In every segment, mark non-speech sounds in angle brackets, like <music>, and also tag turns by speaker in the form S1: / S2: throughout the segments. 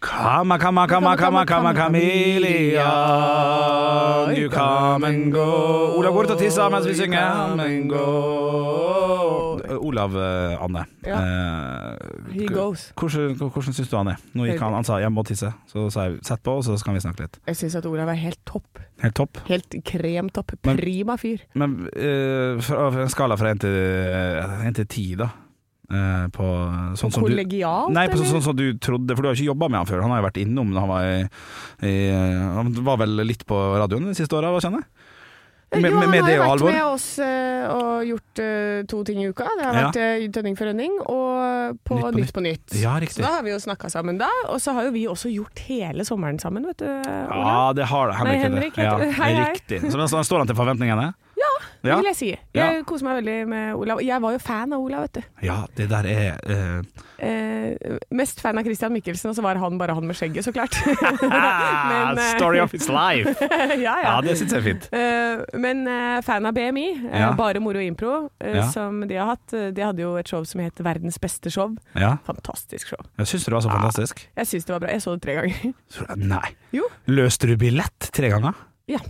S1: Kama, kama, kama, kama, kama, kamelian You come and go Olav går ut og tisser mens vi synger Come and go Olav, eh, Anne eh,
S2: He goes.
S1: Hvordan, hvordan synes du han er? Nå gikk han, han sa jeg må tisse Så sa jeg sett på, og så kan vi snakke litt
S2: Jeg syns at Olav er helt topp.
S1: Helt topp
S2: Helt kremtopp.
S1: Men-
S2: Prima fyr.
S1: Men eh, fra, fra en skala fra 1 til, eh, en til 10 da eh, På sånn som du
S2: Kollegialt,
S1: Nei, på sånn
S2: eller?
S1: sånn som du trodde, for du har ikke jobba med han før. Han har jo vært innom når han var i, i Han var vel litt på radioen de siste åra, kjenner jeg? Med,
S2: jo,
S1: med,
S2: han
S1: med
S2: har
S1: det
S2: jo
S1: og
S2: vært
S1: alvor.
S2: med oss eh, og gjort eh, to ting i uka. Det har
S1: Ja.
S2: vært eh, Tønning for rønning og eh, på
S1: Nytt på
S2: Nytt på Nytt.
S1: Ja,
S2: Så
S1: riktig.
S2: da har vi jo snakka sammen da, og så har jo vi også gjort hele sommeren sammen, vet du.
S1: Ja,
S2: Olav.
S1: det har
S2: Nei,
S1: Henrik.
S2: Henrik
S1: det.
S2: heter- Hei, hei.
S1: Riktig. Så men så står han til forventningene? Ja.
S2: Vil jeg si. Jeg
S1: Ja.
S2: koser meg veldig med Olav. Jeg var jo fan av Olav, vet du.
S1: Ja, det der er eh,
S2: Eh, mest fan av Christian Michelsen, og så var han bare han med skjegget, så klart. <laughs>
S1: ah,
S2: <laughs>
S1: <laughs>
S2: Men, eh,
S1: Story of his life!
S2: ja, <laughs> ja.
S1: Ja, det syns jeg er fint.
S2: Eh, men eh, fan av BMI, eh,
S1: Ja.
S2: Bare Moro Impro, eh,
S1: Ja.
S2: som de har hatt. Eh, De hadde jo et show som het Verdens beste show.
S1: Ja.
S2: Fantastisk show.
S1: Jeg syns du det var så fantastisk.
S2: Jeg syns det var bra. Jeg så det tre ganger. <laughs>
S1: Så- Nei.
S2: Jo.
S1: Løste du billett tre ganger?
S2: Ja.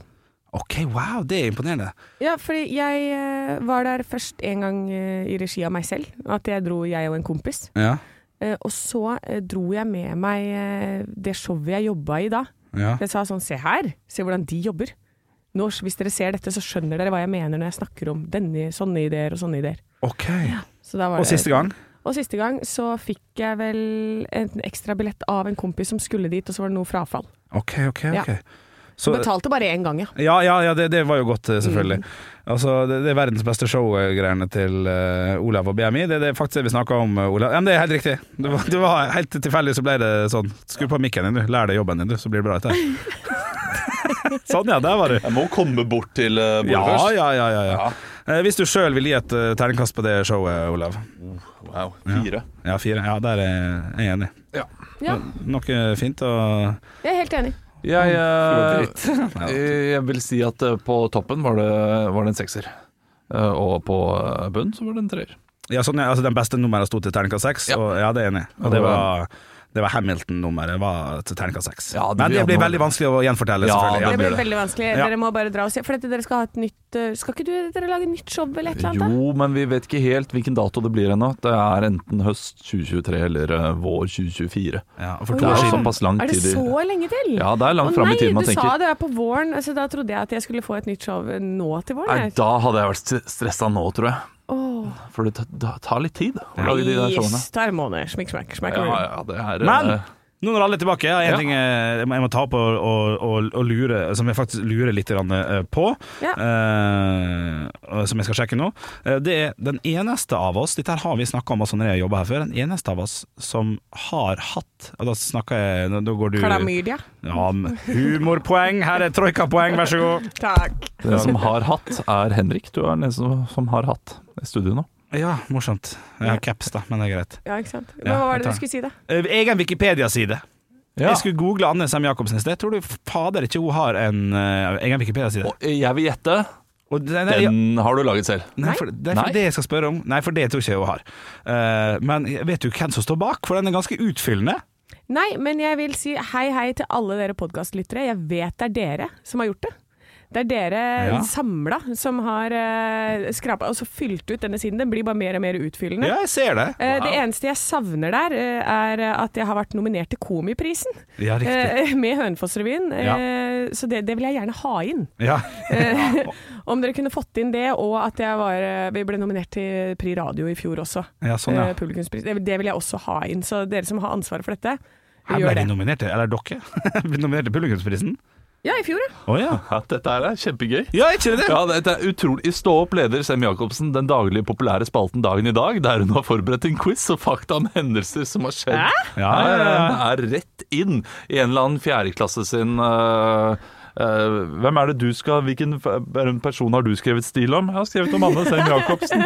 S1: OK, wow, det er imponerende.
S2: Ja, fordi jeg eh, var der først en gang eh, i regi av meg selv. At jeg dro, jeg og en kompis.
S1: Ja,
S2: Eh, og så eh, dro jeg med meg eh, det showet jeg jobba i da.
S1: ja.
S2: Jeg sa sånn, se her, se hvordan de jobber. Nå, hvis dere ser dette, så skjønner dere hva jeg mener når jeg snakker om denne, sånne ideer og sånne ideer.
S1: OK.
S2: Så da var
S1: Og
S2: det-
S1: siste gang?
S2: Og siste gang så fikk jeg vel en ekstra billett av en kompis som skulle dit, og så var det noe frafall.
S1: OK, OK.
S2: Ja.
S1: ok Så-
S2: Betalte bare én gang, ja.
S1: Ja, ja, ja det, det var jo godt,
S2: Mm.
S1: eh, selvfølgelig. Altså, det, det er verdens beste show-greiene til eh, Olav og BMI. Det, det er faktisk det vi snakka om, eh, Olav. Ja, men det er helt riktig. Det var, det var helt tilfeldig så ble det sånn. Skru på mikken din, du. Lær deg jobben din, du, så blir det bra etter.
S2: <laughs>
S1: sånn, ja. Der var du.
S3: Jeg må komme bort til eh, bordet
S1: Ja,
S3: først.
S1: ja, ja. ja, ja. Eh, Hvis du sjøl vil gi et eh, terningkast på det showet, Olav.
S3: Wow, fire.
S1: Ja, fire. Ja, der er jeg enig.
S3: Ja.
S2: Ja.
S1: Noe fint og
S2: Jeg er helt enig.
S3: Jeg, eh,
S1: Nei, da.
S3: jeg vil si at eh, på toppen var det, var det en sekser. Eh, Og på eh, bunnen så var det en treer.
S1: Ja, sånn, ja, altså Den beste nummeret sto til terningkast seks,
S3: Ja.
S1: og ja, det er jeg enig. i. Og det var, det var Hamilton-nummeret var til terningkast seks.
S3: Ja, det
S1: Men
S3: blir
S1: det blir
S3: noe-
S1: veldig vanskelig å gjenfortelle,
S3: Ja,
S1: selvfølgelig.
S2: Det
S3: det
S1: Ja.
S3: blir
S2: blir veldig vanskelig.
S1: Ja.
S2: Dere må bare dra og se. For dette, dere skal ha et nytt eh, Skal ikke du, dere lage et nytt show eller et eller annet?
S3: Jo, men vi vet ikke helt hvilken dato det blir ennå. Det er enten høst 2023 eller eh, vår 2024.
S1: Ja, og for to
S2: Å,
S3: Det
S1: år
S3: er
S1: siden
S3: såpass lang
S2: da? Er det
S3: tid i
S2: så lenge til?
S3: Ja, det er
S2: Å
S3: langt fram i tiden man
S2: Nei, du sa
S3: tenker.
S2: det er på våren. Altså, da trodde jeg at jeg skulle få et nytt show eh, nå til våren.
S3: Nei,
S2: jeg.
S3: da hadde jeg vært stressa nå, tror jeg.
S2: Åh.
S3: For det ta- ta- tar litt tid å lage de der showene.
S2: Yes, tar måned. Smikk, smakk, smakk.
S3: Ja, ja, det er eh,
S1: Men nå når alle er tilbake, ja, en
S3: Ja.
S1: ting eh, jeg må jeg må ta opp og, og, og, og lure, som jeg faktisk lurer litt grann, eh, på,
S2: Ja.
S1: eh, og som jeg skal sjekke nå, eh, det er den eneste av oss Dette her har vi snakka om også når jeg jobba her før. Den eneste av oss som har hatt og Da snakker jeg Da går du
S2: Klamydia.
S1: Ja, men humorpoeng. Her er troikapoeng, vær så god.
S2: Takk.
S3: Den som har hatt, er Henrik. Du er den eneste som- som har hatt i studio nå.
S1: Ja, morsomt. Jeg har caps, da, men det er greit.
S2: Ja, ikke sant. Men
S1: Ja,
S2: hva var
S1: jeg
S2: det
S1: tar
S2: du skulle si, da?
S1: Eh, Egen Wikipedia-side.
S3: Ja.
S1: Jeg skulle google Anne Sem Jacobsen i sted. Tror du fader ikke hun har en eh, egen Wikipedia-side?
S3: Og jeg vil gjette.
S1: Og det- nei, ja,
S3: Den har du laget selv.
S1: Nei, for, det er for
S3: Nei.
S1: det jeg skal spørre om. Nei, for det tror jeg ikke hun har. Eh, men vet du hvem som står bak? For den er ganske utfyllende.
S2: Nei, men jeg vil si hei hei til alle dere podkastlyttere. Jeg vet det er dere som har gjort det. Det er dere
S1: Ja.
S2: samla som har uh, skrapa og så fylt ut denne siden. Den blir bare mer og mer utfyllende.
S1: Ja, jeg ser det.
S2: Eh, Det eneste jeg savner der, eh, er at jeg har vært nominert til Komiprisen
S1: Ja, riktig.
S2: eh, med Hønefoss-revyen.
S1: Ja.
S2: Eh, Så det, det vil jeg gjerne ha inn.
S1: Ja.
S2: Eh, Om dere kunne fått inn det, og at jeg var, eh, vi ble nominert til Pri Radio i fjor også.
S1: <laughs> ja, sånn,
S2: Eh,
S1: ja.
S2: Publikumspris. Det, det vil jeg også ha inn. Så dere som har ansvaret for dette,
S1: Her ble vi
S2: gjør det.
S1: nominert til Eller dere? <laughs> Vi nominert til Publikumsprisen?
S2: Ja, i fjor, ja.
S1: Å ja.
S3: Ja, dette her er kjempegøy.
S1: Ja, ikke det?
S3: Ja, dette er utrolig. Stå opp leder Sem Jacobsen den daglige populære spalten Dagen i dag, der hun har forberedt en quiz og fakta om hendelser som har skjedd.
S1: Ja, ja, ja.
S3: Den er rett inn i en eller annen fjerdeklasse sin eh, eh, hvem er det du skal, Hvilken f- er en person har du skrevet stil om? Jeg har skrevet om Anne
S2: <laughs>
S3: Sem Jacobsen.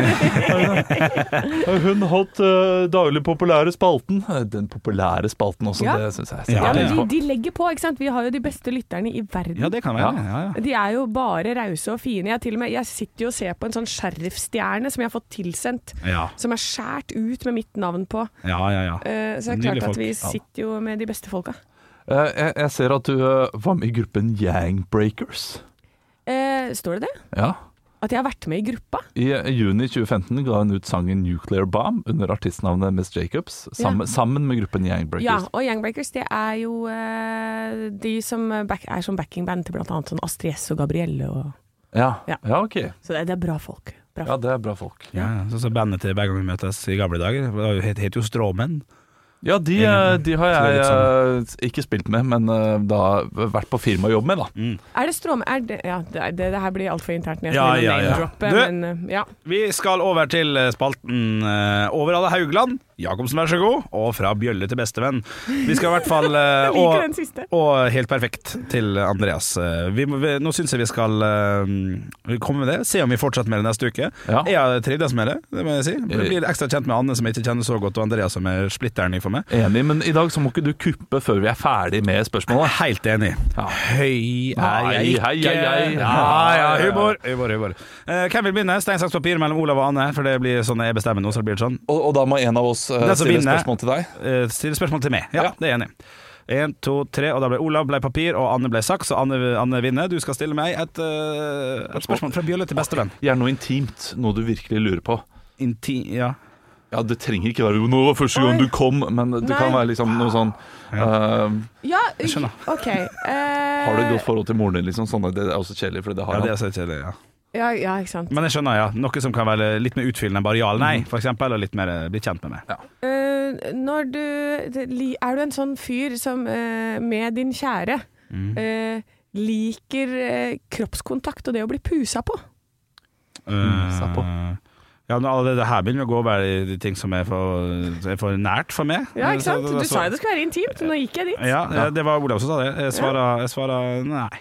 S3: Eh, Hun holdt eh, daglig populære spalten. Eh, Den populære spalten også,
S2: Ja.
S3: det syns jeg.
S1: Ja,
S2: Ja, men
S3: det-
S2: de, de legger på, ikke sant. Vi har jo de beste lytterne i verden.
S1: Ja, det kan være. Ja, ja.
S2: De er jo bare rause og fine. Jeg, til og med, jeg sitter jo og ser på en sånn sheriffstjerne som jeg har fått tilsendt.
S1: Ja,
S2: Som er skåret ut med mitt navn på.
S1: ja, ja. ja.
S2: Eh, så det er
S1: Nydelige
S2: klart
S1: folk.
S2: at vi
S1: Ja.
S2: sitter jo med de beste folka.
S3: Eh, jeg, jeg ser at du eh, var med i gruppen Yangbreakers.
S2: Eh, står det det?
S3: Ja.
S2: At jeg har vært med i gruppa?
S3: I eh, juni 2015 ga hun ut sangen 'Nuclear Bomb' under artistnavnet Miss Jacobs, sammen,
S2: Ja.
S3: sammen med gruppen
S2: Ja,
S3: Yangbreakers.
S2: og Yangbreakers det er jo eh, de som back, er som backingband til blant annet sånn Astrid S og Gabrielle og
S3: Ja.
S2: Ja.
S3: Ja. ok.
S2: Så det, det er bbra folk. Bra
S3: Ja,
S2: folk.
S3: det er bra folk.
S1: Ja, sånn som bandet til Hver gang vi møtes i gamle dager. Det var jo- het, het jo Stråmenn.
S3: Ja, de, eh, de har
S1: Så det er
S3: jeg
S1: litt
S3: eh, ikke spilt med, men eh, da vært på firmajobb med, da.
S2: Er det stråme... Er det, ja, det, det, det her blir altfor internt når jeg
S1: Ja,
S2: skal
S1: ja, ja.
S2: name-droppe,
S1: Du-
S2: men eh, ja.
S1: Vi skal over til spalten eh, Over alle Haugland. Jacobsen, vær så god. Og Fra bjølle til bestevenn. Vi skal i hvert
S2: <laughs>
S1: fall eh,
S2: Jeg liker den
S1: og,
S2: siste.
S1: og Helt perfekt til Andreas. Eh, Vi, må- vi, nå syns jeg vi skal eh, komme med det. Se om vi fortsetter med det neste uke.
S3: Ja.
S1: Jeg har trivdes med det, det må jeg si.
S2: Eh.
S1: Jeg blir ekstra kjent med Anne, som jeg ikke kjenner så godt, og Andreas, som er splitteren ny for meg.
S3: Enig, men i dag så må ikke du kuppe før vi er ferdig med spørsmålet.
S1: Helt enig.
S3: Ja.
S1: Høy er
S3: Nei,
S1: jeg ikke.
S3: hei, hei, hei.
S1: Ja, ja, humor. humor, humor. Eh, hvem vil begynne? Stein, saks, papir mellom Olav og Anne. For det blir sånn jeg bestemmer nå, så det blir sånn.
S3: Og, og da må en av oss eh,
S1: Den som
S3: stille
S1: vinner-
S3: spørsmål til deg.
S1: Eh, Stille spørsmål til meg. Ja,
S3: Ja.
S1: det er jeg enig. i. En, to, tre, og da ble Olav ble papir, og Anne ble saks. Og Anne, Anne vinner. Du skal stille meg et, eh, et spørsmål fra Bjølle til bestevenn.
S3: Gjerne noe intimt, noe du virkelig lurer på.
S1: Inti... Ja.
S3: Ja, Det trenger ikke være noe første gang du kom, men det
S2: Nei.
S3: kan være liksom noe sånn eh,
S2: Ja,
S1: skjønner. <laughs>
S2: OK. eh,
S3: Har du et godt forhold til moren din? liksom sånn, Det er også kjedelig, for det
S1: ja,
S3: har
S1: det
S3: han.
S1: er så kjedelig. Ja.
S2: Ja, ja, ikke sant.
S1: Men jeg skjønner, ja. Noe som kan være litt mer utfyllende enn bare ja eller nei,
S3: Mm.
S1: for eksempel, og litt mer eh, bli kjent med meg.
S2: Eh, når du det- li- Er du en sånn fyr som eh, med din kjære
S1: Mm.
S2: eh, liker eh, kroppskontakt og det å bli pusa på?
S3: Mm, sa på.
S1: Eh, Ja, nå, alle det her begynner å gå over i de ting som er for, er for nært for meg.
S2: Ja, ikke sant?
S1: Så-
S2: Du
S1: så-
S2: sa jo det skulle være intimt, men nå gikk jeg dit.
S1: Ja, ja, det var Olav som sa det. Jeg svarer, jeg svarer
S2: <laughs>
S1: nei.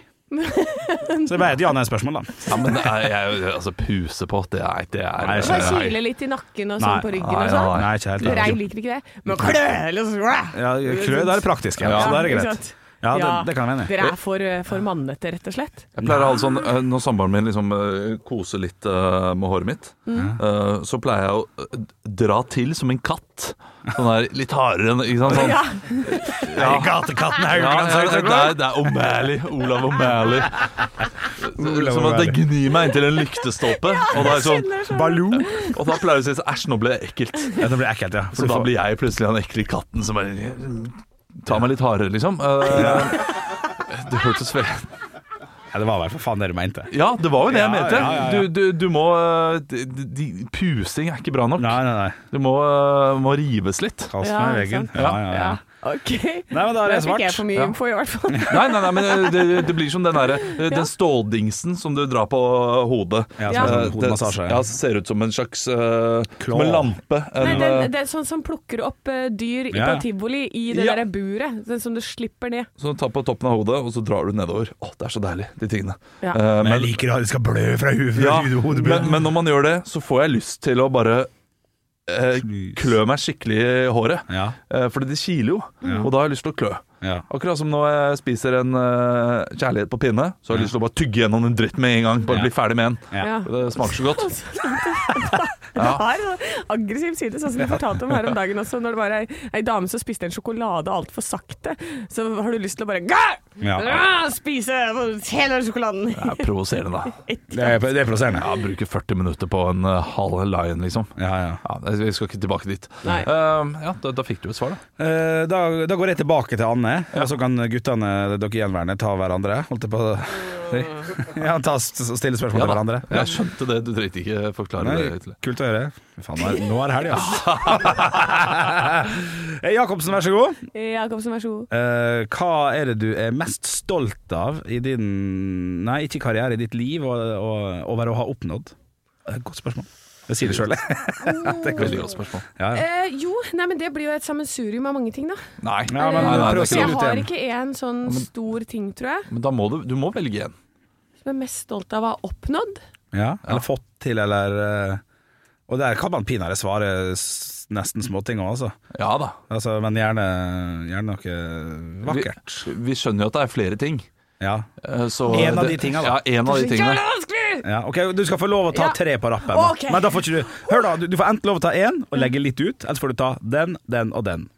S1: Så det ble et ja-nei-spørsmål, da.
S3: Ja, men det er, jeg, altså, puse på, det er, det er
S1: Nei, jeg
S2: Bare
S1: skjønner.
S2: kile litt i nakken og sånn
S1: Nei.
S2: på ryggen
S3: Nei,
S2: og sånn.
S1: Nei, ikke helt.
S2: Rein liker ikke det. Men kløle og sånn
S1: Ja, krø, da er det praktisk. Ja, så da er det
S2: ikke
S1: greit.
S2: sant?
S1: Ja, det,
S2: Ja.
S1: det kan jeg være enig i.
S2: Dere er for, eh, for mannete, rett og slett.
S3: Jeg pleier å ha det sånn eh, Når samboeren min liksom eh, koser litt eh, med håret mitt,
S1: Mm.
S3: eh, så pleier jeg å eh, dra til som en katt. Sånn der litt hardere enn ikke
S1: <laughs>
S3: sant? Sånn.
S2: Ja.
S1: Nei, Gatekatten
S3: Ja,
S1: Haugland,
S3: ja,
S1: sa
S3: det,
S1: du det?
S3: er, det er O'Malley. Olav O'Malley.
S1: <laughs> Olav
S3: Som at det
S1: O'Malley.
S3: gnir meg inntil en lyktestolpe. Og da, er jeg sånn,
S2: Kjenner sånn.
S1: Baloo.
S3: og da pleier jeg å si sånn Æsj, nå ble jeg ekkelt.
S1: Ja, det blir ekkelt, ja.
S3: Så da blir jeg plutselig han ekle katten som bare tar meg litt hardere, liksom. Eh, Det hørtes vel
S1: ja, det var vel for faen det du mente.
S3: Ja, det var jo det jeg
S1: Ja,
S3: mente.
S1: ja, ja, ja.
S3: Du, du, du må eh, de, de, Pusing er ikke bra nok.
S1: Nei, nei, nei.
S3: Du må, eh, må rives litt.
S1: Kast
S2: Ja,
S1: meg i
S2: ikke
S1: veggen.
S2: sant?
S1: Ja, ja, ja.
S2: Ja, OK.
S1: Nei, men da har
S2: Der
S1: jeg
S2: fikk jeg
S1: svart.
S2: for mye
S3: Ja.
S2: info, i hvert fall.
S3: Nei, nei, nei, men eh, det, det blir som den derre eh, Den ståldingsen som du drar på hodet.
S1: Ja,
S2: Ja.
S1: som en
S3: Eh,
S1: sånn
S3: det,
S1: hodemassasje.
S3: ja, ser ut som en slags eh,
S1: Klå.
S3: Som en lampe.
S2: Nei,
S3: En,
S2: den,
S3: eh,
S2: det er sånn som plukker opp eh, dyr i-
S1: Ja.
S2: på tivoli i det
S3: Ja.
S2: der buret. Den som du slipper ned.
S3: som du tar på toppen av hodet, og så drar du nedover. Å, det er så deilig, de tingene.
S2: Ja.
S3: Eh,
S1: Men jeg liker at det skal blø fra huet.
S3: ja, men, men når man gjør det, så får jeg lyst til å bare eh, klø meg skikkelig i håret.
S1: Ja,
S3: Eh, fordi det kiler jo, og da har jeg lyst til å klø.
S1: ja.
S3: Akkurat som når jeg spiser en eh, kjærlighet på pinne, så har jeg lyst til å bare tygge gjennom den dritten med en gang. Bare
S1: Ja.
S3: bli ferdig med en.
S1: Ja.
S3: Det smaker så godt.
S2: Altså, det har en sånn aggressiv side, sånn som du fortalte om her om dagen også. Når det var ei, ei dame som spiste en sjokolade altfor sakte, så har du lyst til å bare Gah!
S1: Ja.
S2: Ah, Spise hele sjokoladen!
S3: Det er provoserende, da.
S1: Det er, det er provoserende.
S3: Ja, bruke 40 minutter på en eh, halv lion, liksom.
S1: Ja, ja.
S3: Ja, vi skal ikke tilbake dit.
S2: Nei.
S3: Eh, ja, da, da fikk du et svar, da.
S1: Eh, Da, da går jeg tilbake til Anne, og så kan guttene, dere gjenværende, ta hverandre. Holdt jeg på å si. Ja, ta og stille spørsmål
S3: Ja,
S1: til
S3: da.
S1: hverandre.
S3: Jeg skjønte det, du trengte ikke forklare
S1: Nei,
S3: det. Til.
S1: kult å høre. Faen, nå er- nå er det helg, altså. <laughs> Eh, Jacobsen, vær så god.
S2: Jacobsen, vær så god.
S1: Eh, hva er det du er mest stolt av i din Nei, ikke karriere, i ditt liv, og, og over å ha oppnådd? Eh, Godt spørsmål. Jeg sier det sjøl, jeg. Det er
S3: Veldig
S1: koselig.
S3: godt spørsmål.
S1: Ja, ja.
S2: Eh, jo, nei, men det blir jo et sammensurium av mange ting, da.
S3: Nei.
S1: Ja, men
S3: nei, nei,
S1: prøv å
S3: det
S2: Så
S3: skal
S1: skrive
S2: jeg
S3: du-
S1: ut
S2: har
S1: igjen.
S2: ikke én sånn stor ting, tror jeg,
S3: Men da må du, du må velge en.
S2: som jeg er mest stolt av å ha oppnådd.
S1: Ja, eller fått til, eller eh, Og der kan man pinadø svare s- nesten småting òg, altså.
S3: Ja da.
S1: altså. Men gjerne, gjerne noe vakkert.
S3: Vi, vi skjønner jo at det er flere ting.
S1: Ja.
S3: eh, Så
S1: En av
S3: det-
S1: de tinga, da.
S3: Ja, en av de tingene.
S2: Jævla vanskelig!
S1: Ja, ok, Du skal få lov å ta
S2: Ja.
S1: tre på rappen. da.
S2: Ok.
S1: Men da får ikke du Hør, da. Du, du får enten lov å ta én og legge litt ut, eller så får du ta den, den og den.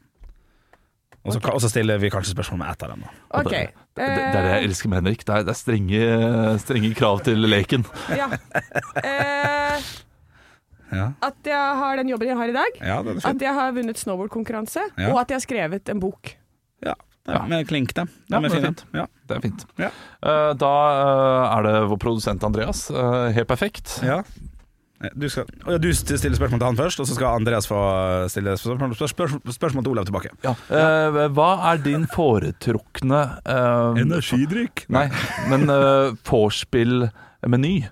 S1: Og så, og så stiller vi kanskje spørsmål med ett av dem. da
S3: Og
S2: Ok. eh,
S3: Det, det, det er det jeg elsker med Henrik. Det er, det er strenge, strenge krav til leken.
S2: Eh, ja. Eh,
S1: Ja,
S2: at jeg har den jobben jeg har i dag.
S1: ja den er fin.
S2: At jeg har vunnet snowboardkonkurranse,
S1: Ja.
S2: og at jeg har skrevet en bok.
S1: Ja, ja. Men klink dem.
S3: Ja,
S1: De er
S3: det er
S1: fine.
S3: fint.
S1: Ja.
S3: Det er fint.
S1: Ja.
S3: Eh, Da eh, er det vår produsent Andreas. eh, Helt perfekt.
S1: Ja. Du, skal, Å ja, du stiller spørsmål til han først, og så skal Andreas få stille spørsmål, spørsmål, spørsmål til Olav tilbake.
S3: Ja. Eh, Hva er din foretrukne eh,
S1: Energidrikk?
S3: Nei, men eh, vorspiel-meny?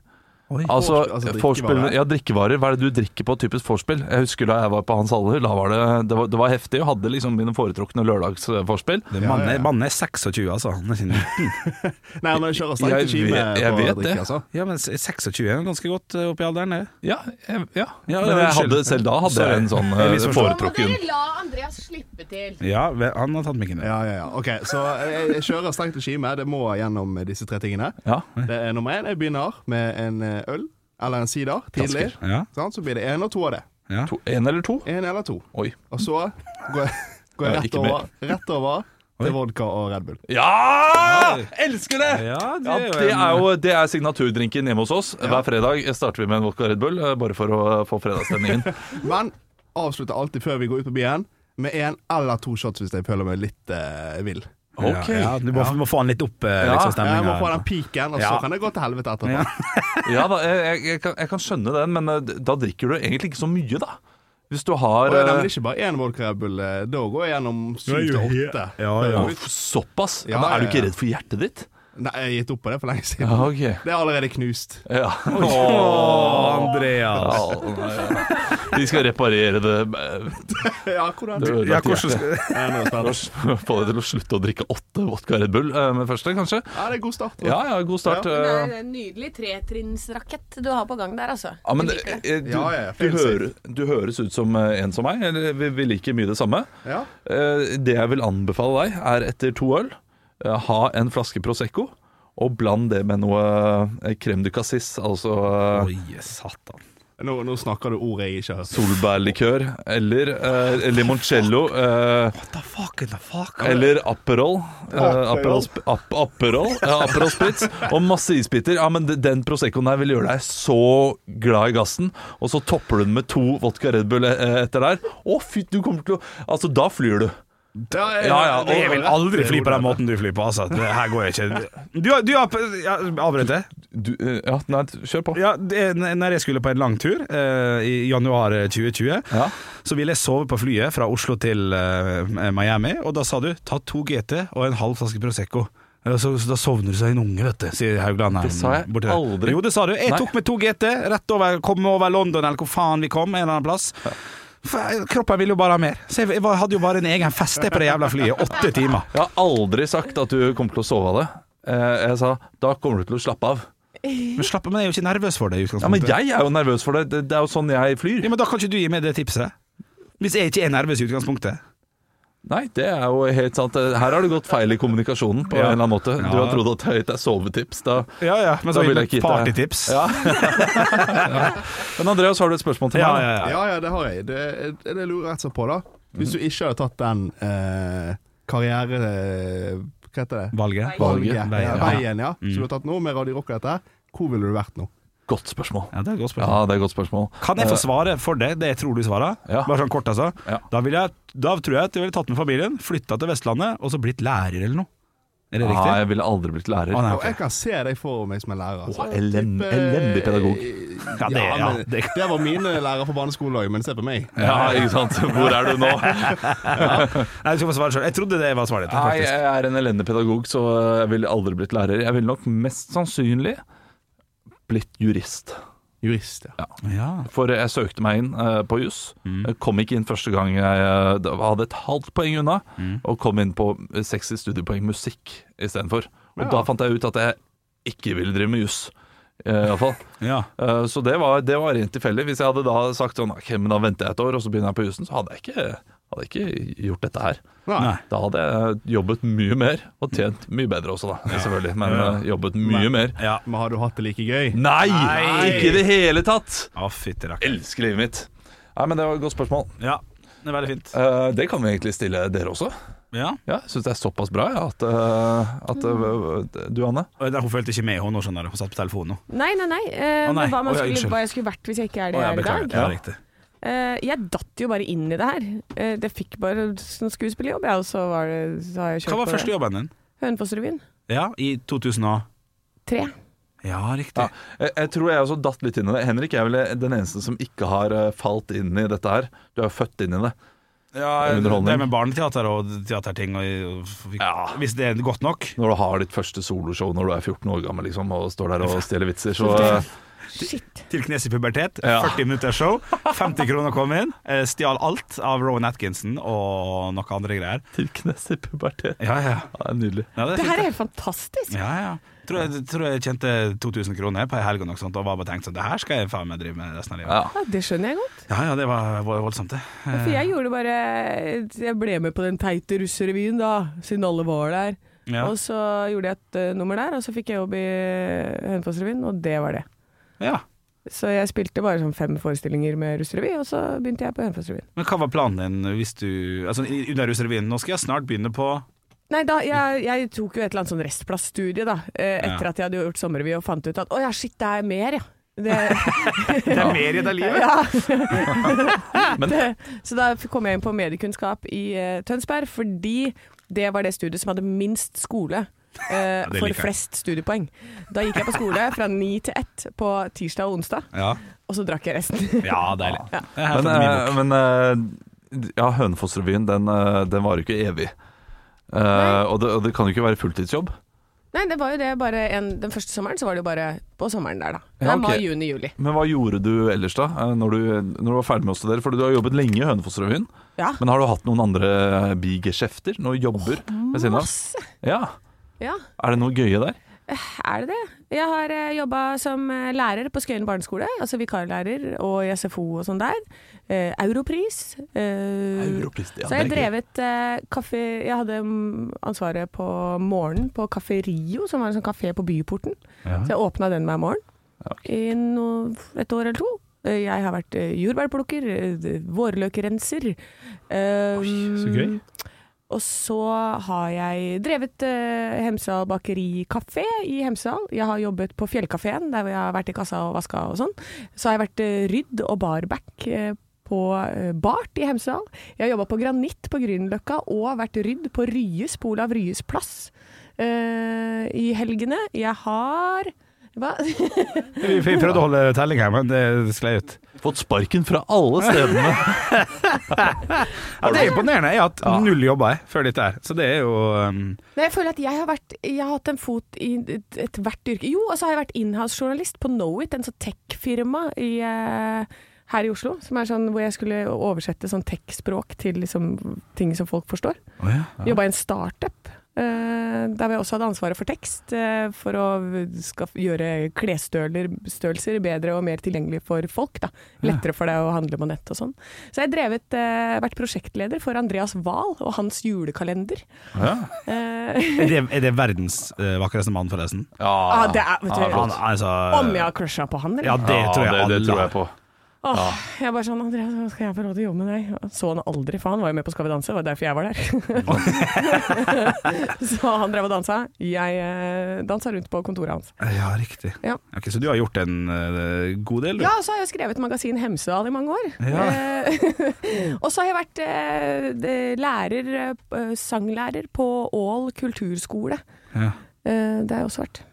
S3: Altså,
S4: Vorspiel- altså,
S3: vorspiel,
S4: drikkevarer.
S3: ja, drikkevarer. Hva er det du drikker på typisk vorspiel? Jeg husker da jeg var på Hans Aller, da var det, det, var, det var heftig. Jeg hadde liksom mine foretrukne lørdagsvorspiel.
S1: Mannen er, mannen er 26, altså. Han er ikke 19.
S4: Nei, han kjører sterkt
S3: Jeg
S4: i kime
S3: vet- jeg
S4: på
S3: vet
S4: drikke,
S3: det.
S4: altså.
S1: Ja, men 26 er ganske godt eh, oppi alderen, det.
S3: Ja, jeg, ja.
S1: Ja,
S3: men
S1: ja,
S3: jeg
S1: unnskyld.
S3: hadde, selv da hadde
S1: Sorry.
S3: jeg en sånn eh,
S1: Jeg misforstod.
S3: foretrukken
S5: la Andreas slippe til.
S1: Ja, ve- han har tatt mikken. Ja.
S4: Ja, ja, ja. Ok, så jeg, jeg kjører strengt regime. Det må gjennom disse tre tingene.
S3: Ja,
S4: Det er nummer én. Jeg begynner med en eh, øl eller en sider tidlig.
S3: Flasker.
S1: Ja,
S4: Sant? Så blir det én og to av det.
S3: to, en eller to?
S4: Én eller to.
S3: Oi.
S4: Og så går jeg, <laughs> går jeg
S3: Ja,
S4: rett,
S3: ikke mer.
S4: over, rett over til vodka og Red Bull.
S3: Ja! Elsker det!
S1: det
S3: Ja, det er jo det er signaturdrinken hjemme hos oss. Hver fredag starter vi med en vodka Red Bull, eh, bare for å få fredagsstemningen.
S4: Men avslutter alltid før vi går ut på byen med én eller to shots hvis jeg føler meg litt eh, vill.
S3: Ok.
S1: ja, ja, Du må, må få han litt opp, eh,
S3: Ja,
S1: liksom,
S4: Jeg må
S1: stemninga.
S4: få den piken, og så
S1: Ja.
S4: kan det gå til helvete etterpå.
S1: Ja.
S3: Ja da, jeg, jeg, jeg, kan, jeg kan skjønne den, men eh, da drikker du egentlig ikke så mye, da. Hvis du har
S4: Og det er
S3: eh,
S4: nemlig ikke bare én vodka Red Bull. eh, Da går jeg gjennom syv til åtte.
S1: Ja, ja.
S3: Uff, Såpass? Ja,
S4: Ja,
S3: men er du
S4: ja,
S3: ikke
S4: ja.
S3: redd for hjertet ditt?
S4: Nei, jeg har gitt opp på det for lenge siden.
S3: Ja, ok.
S4: Det er allerede knust. <laughs>
S3: Ja.
S1: <laughs> Andreas.
S3: Ja, nei, ja. Vi skal reparere det eh,
S4: Ja, hvordan?
S3: det ødelagte
S1: Ja, hvordan
S3: hjertet.
S1: skal
S4: Ja, nå er jeg spent.
S3: <laughs> Få deg til å slutte å drikke åtte vodka Red Bull eh, med første, kanskje?
S4: Ja, det er god start. da.
S3: Ja, ja, god start.
S5: Det
S3: eh.
S5: er en nydelig tretrinnsrakett du har på gang der, altså.
S3: Ja, men
S5: Jeg liker det.
S3: eh, du,
S4: Ja, ja,
S3: du,
S4: fair
S3: hører, du høres ut som eh, en som meg. Eller, vi, vi liker mye det samme.
S4: Ja.
S3: Eh, Det jeg vil anbefale deg, er etter to øl eh, ha en flaske Prosecco. Og bland det med noe eh, crème du cassis, altså eh,
S1: Oi, satan.
S4: Nå, nå snakker du ord jeg ikke har hørt.
S3: solbærlikør, eller eh, limoncello, eh,
S1: What the fuck, what the fuck?
S3: eller Aperol. eh, Aperol, sp- ap, aperol, ja, aperol Spritz, og masse isbiter. Ja, men de- Den Proseccoen her vil gjøre deg så glad i gassen, og så topper du den med to vodka Red Bull eh, etter der. Å, fy, du kommer til å Altså, da flyr du.
S4: Ja,
S3: Ja, ja, og
S1: Jeg vil aldri fly på den måten du flyr på, altså. Det her går jeg ikke. Du, har- du har ja, Avbrøt jeg?
S3: du eh, Ja, nei, kjør på.
S1: Ja, det, når jeg skulle på en lang tur eh, i januar 2020,
S3: Ja.
S1: så ville jeg sove på flyet fra Oslo til eh, Miami, og da sa du ta to GT og en halv flaske Prosecco. Eh, Så, så da sovner du seg en unge, vet du, sier Haugland her.
S3: Det sa jeg
S1: borte der.
S3: aldri.
S1: Jo, det sa du. Jeg
S3: Nei.
S1: tok med to GT, rett over, kom over London eller hvor faen vi kom, en eller annen plass. For jeg- Kroppen ville jo bare ha mer. Så jeg, jeg var- hadde jo bare en egen fest jeg, på det jævla flyet. Åtte timer.
S3: Jeg har aldri sagt at du kommer til å sove av det. Eh, Jeg sa da kommer du til å slappe av.
S1: Men slapp av, men jeg er jo ikke nervøs for det i utgangspunktet.
S3: Ja, Men jeg er jo nervøs for det. Det, det er jo sånn jeg flyr.
S1: Ja, men da kan ikke du gi meg det tipset. Hvis jeg ikke er nervøs i utgangspunktet.
S3: Nei, det er jo helt sant. Eh, Her har det gått feil i kommunikasjonen på
S1: Ja.
S3: en eller annen måte. Du
S1: Ja.
S3: har trodd at jeg har gitt deg sovetips. Da.
S1: Ja, ja, men
S3: Da
S1: så
S3: vil
S1: vil
S3: jeg ikke
S1: jeg
S3: gitt deg-
S1: partytips.
S3: <laughs> Ja. Men Andreas, har du et spørsmål til
S1: Ja,
S3: meg?
S1: ja, ja.
S4: Ja, ja, det har jeg. Det, det, det lurer jeg rett og slett på, da. Hvis du ikke hadde tatt den eh, karriere... eh, Hva heter det?
S1: Valget.
S3: Valget.
S4: Veien,
S1: Veien,
S4: ja.
S1: ja.
S4: Veien, ja. Så du har tatt nå med Radio Rock og dette. Hvor ville du vært nå?
S3: Godt spørsmål.
S1: Ja, det er et godt
S3: Ja,
S1: spørsmål.
S3: det er et godt spørsmål.
S1: Kan jeg få svare for det, det jeg tror du svarer?
S3: Ja.
S1: Bare sånn kort, altså.
S3: Ja.
S1: Da, vil jeg, da tror jeg at jeg ville tatt med familien, flytta til Vestlandet og så blitt lærer eller noe. Er det
S3: Nei,
S1: riktig?
S3: jeg ville aldri blitt lærer.
S1: Å, nei,
S4: Og
S1: ok.
S4: jeg kan se deg for meg som en lærer. altså.
S3: Åh, elend- elendig pedagog.
S4: Eh, Ja,
S1: det-
S4: det,
S1: ja,
S4: men, det, var mine lærere på barneskolen òg, men se på meg.
S3: Ja, ikke sant. Hvor er du <laughs> nå?
S1: Nei, du skal få svare sjøl. Jeg trodde det var svaret ditt,
S3: Nei,
S1: faktisk.
S3: jeg er en elendig pedagog, så jeg ville aldri blitt lærer. Jeg ville nok mest sannsynlig blitt jurist.
S4: Jurist, ja.
S1: Ja.
S3: For jeg søkte meg inn eh, på juss.
S1: Mm.
S3: Jeg Kom ikke inn første gang jeg eh, da- hadde et halvt poeng unna,
S1: Mm.
S3: og kom inn på 60 studiepoeng musikk istedenfor. Og
S4: Ja.
S3: da fant jeg ut at jeg ikke ville drive med juss. eh, i alle
S1: <laughs>
S3: fall.
S1: ja.
S3: Eh, Så det var, det var rent tilfeldig. Hvis jeg hadde da sagt sånn, ok, men da venter jeg et år, og så begynner jeg på jussen, så hadde jeg ikke, hadde jeg ikke gjort dette her.
S1: Nei.
S3: Da hadde jeg jobbet mye mer, og tjent mye bedre også, da, selvfølgelig. Men
S1: Ja.
S3: eh, jobbet mye mer.
S1: Ja.
S4: Men har du hatt det like gøy?
S3: Nei,
S1: Nei.
S3: ikke i det hele tatt!
S1: Å, fytti rakker.
S3: Elsker livet mitt. Nei, men det var et godt spørsmål.
S1: Ja, det er veldig fint.
S3: Eh, det kan vi egentlig stille dere også.
S1: Ja.
S3: Ja, jeg syns det er såpass bra ja, at, eh, at eh, Du, Anne?
S1: Og Hun fulgte ikke med, hun nå, skjønner du. Hun satt på telefonen nå.
S2: Nei, nei, nei. Eh,
S1: Å, nei.
S2: men Hva, man
S1: Å, ja,
S2: skulle,
S1: unnskyld.
S2: hva jeg skulle vært hvis jeg ikke er
S1: Å,
S2: det jeg
S1: jeg
S2: er i
S1: beklager.
S2: dag.
S1: Ja, riktig.
S2: Eh, jeg datt jo bare inn i det her. Eh, det fikk bare sånn skuespillerjobb, jeg, og så, var det, så har jeg kjørt
S1: Hva var
S2: på
S1: første
S2: det.
S1: jobben din?
S2: Hønefossrevyen.
S1: Ja, i 2000 og
S2: Tre.
S1: Ja, riktig.
S3: Ja, jeg, jeg tror jeg også datt litt inn i det. Henrik er vel den eneste som ikke har eh, falt inn i dette her. Du er jo født inn i det.
S1: Ja,
S3: Underholdning.
S1: det med barneteater og teaterting og, og
S3: Ja.
S1: Hvis det er godt nok.
S3: Når du har ditt første soloshow når du er 14 år gammel liksom, og står der og stjeler vitser, <laughs> så eh,
S2: Shit.
S1: Til knes i pubertet.
S3: Ja.
S1: 40 minutter show. 50 kroner kom inn. eh, Stjal alt av Rowan Atkinson og noen andre greier.
S3: Til knes i pubertet.
S1: Ja, ja.
S3: Ja, det er nydelig.
S1: ja det
S2: Det
S1: er
S2: her
S1: fint.
S2: er helt fantastisk.
S1: Ja, ja. Tror jeg, tror jeg tjente 2000 kroner på ei helg og noe sånt, og var bare tenkt sånn Det her skal jeg faen meg drive med resten av livet.
S3: Ja.
S2: Ja, det skjønner jeg godt.
S1: Ja, ja, det var vo- voldsomt, det.
S2: For jeg gjorde bare Jeg ble med på den teite russerevyen, da, siden alle var der.
S1: Ja.
S2: Og så gjorde jeg et eh, nummer der, og så fikk jeg jobb i eh, Hønefossrevyen, og det var det.
S1: ja.
S2: Så jeg spilte bare sånn fem forestillinger med russerevy, og så begynte jeg på Hønefossrevyen.
S1: Men hva var planen din hvis du Altså, i- under russerevyen Nå skal jeg snart begynne på
S2: Nei, da, jeg, jeg tok jo et eller annet sånn restplassstudie, da, eh, etter
S1: Ja.
S2: at jeg hadde gjort sommerrevy og fant ut at å ja, shit, det er mer, ja. Det,
S1: <laughs> Det er mer i det livet! <laughs>
S2: ja. det, så da f- kom jeg inn på mediekunnskap i eh, Tønsberg, fordi det var det studiet som hadde minst skole. eh,
S1: det
S2: for
S1: liker jeg.
S2: flest studiepoeng. Da gikk jeg på skole fra ni til ett på tirsdag og onsdag,
S1: Ja,
S2: og så drakk jeg resten. <laughs>
S1: ja deilig.
S2: Ja.
S1: Jeg har
S3: Men,
S1: fått en ny bok.
S3: eh, men eh, ja, Hønefoss-revyen, den, eh, den varer jo ikke evig. Eh, og, det, og det kan jo ikke være fulltidsjobb.
S2: Nei, det var jo det bare en, Den første sommeren så var det jo bare på sommeren der, da. Det
S3: Ja,
S2: er mai,
S3: ok.
S2: juni, juli.
S3: Men hva gjorde du ellers, da? eh, Når du, når du var ferdig med å studere? For du har jobbet lenge i Hønefoss-revyen.
S2: Ja.
S3: Men har du hatt noen andre eh, bigeskjefter? Noen jobber ved siden av? Ja.
S2: Ja, Eh,
S3: Er det noe gøye der?
S2: er det det? Jeg har uh, jobba som eh, lærer på Skøyen barneskole, altså vikarlærer og i SFO og sånn der. Eh, Europris. eh,
S3: Europris, ja,
S2: så har jeg
S3: det er
S2: drevet eh, kaffe... Jeg hadde mm, ansvaret på morgenen på Kafé Rio, som var en sånn kafé på Byporten. Så jeg åpna den hver morgen i no, et år eller to. Eh, Jeg har vært eh, jordbærplukker, eh, vårløkrenser.
S3: Så
S2: Um,
S3: gøy.
S2: og så har jeg drevet eh, Hemsedal bakeri kafé i Hemsedal. Jeg har jobbet på Fjellkafeen, der hvor jeg har vært i kassa og vaska og sånn. Så har jeg vært eh, rydd og barback eh, på eh, Bart i Hemsedal. Jeg har jobba på Granitt på Grünerløkka og vært rydd på Ryes, på Olav Ryes plass eh, i helgene. Jeg har hva?
S1: eh, Vi vi prøvde å holde telling her, men det sklei ut.
S3: Fått sparken fra alle stedene.
S1: Ja, det er imponerende. Jeg har hatt null jobber jeg, før dette her, så det er jo um,
S2: Nei, jeg føler at jeg har, vært, jeg har hatt en fot i et- ethvert yrke. Jo, og så har jeg vært inhouse-journalist på Knowit, en sånn tech-firma i, eh, her i Oslo. Som er sånn hvor jeg skulle oversette sånn tech-språk til liksom, ting som folk forstår. Jobba i en startup. eh, der hvor jeg også hadde ansvaret for tekst, eh, for å skaff- gjøre klesstørrelser bedre og mer tilgjengelig for folk. Da. Lettere for deg å handle på nett og sånn. Så jeg har drevet, eh, vært prosjektleder for Andreas Wahl og hans julekalender. Eh,
S1: er, det, er det verdens eh, vakreste mann, forresten?
S2: Ah, det er, vet du,
S1: Han, altså,
S2: Om jeg har crusha på han, eller?
S1: Ja, det tror jeg
S3: det,
S1: alle
S3: det tror
S1: har.
S3: jeg på.
S2: Åh, jeg er bare sånn Andreas, hva skal jeg få lov til å jobbe med deg? Jeg Så han aldri, for han var jo med på Skal vi danse, det var derfor jeg <laughs> var der. så han drev og dansa. Jeg eh, dansa rundt på kontoret hans.
S1: Ja, riktig.
S2: Ja.
S1: Ok, så du har gjort en eh, god del, du?
S2: Ja, og så har jeg skrevet magasin Hemsedal i mange år.
S1: Ja.
S2: Eh, <laughs> og så har jeg vært eh, det- lærer, eh, sanglærer på Ål kulturskole.
S1: Ja.
S2: Eh, det har jeg også vært.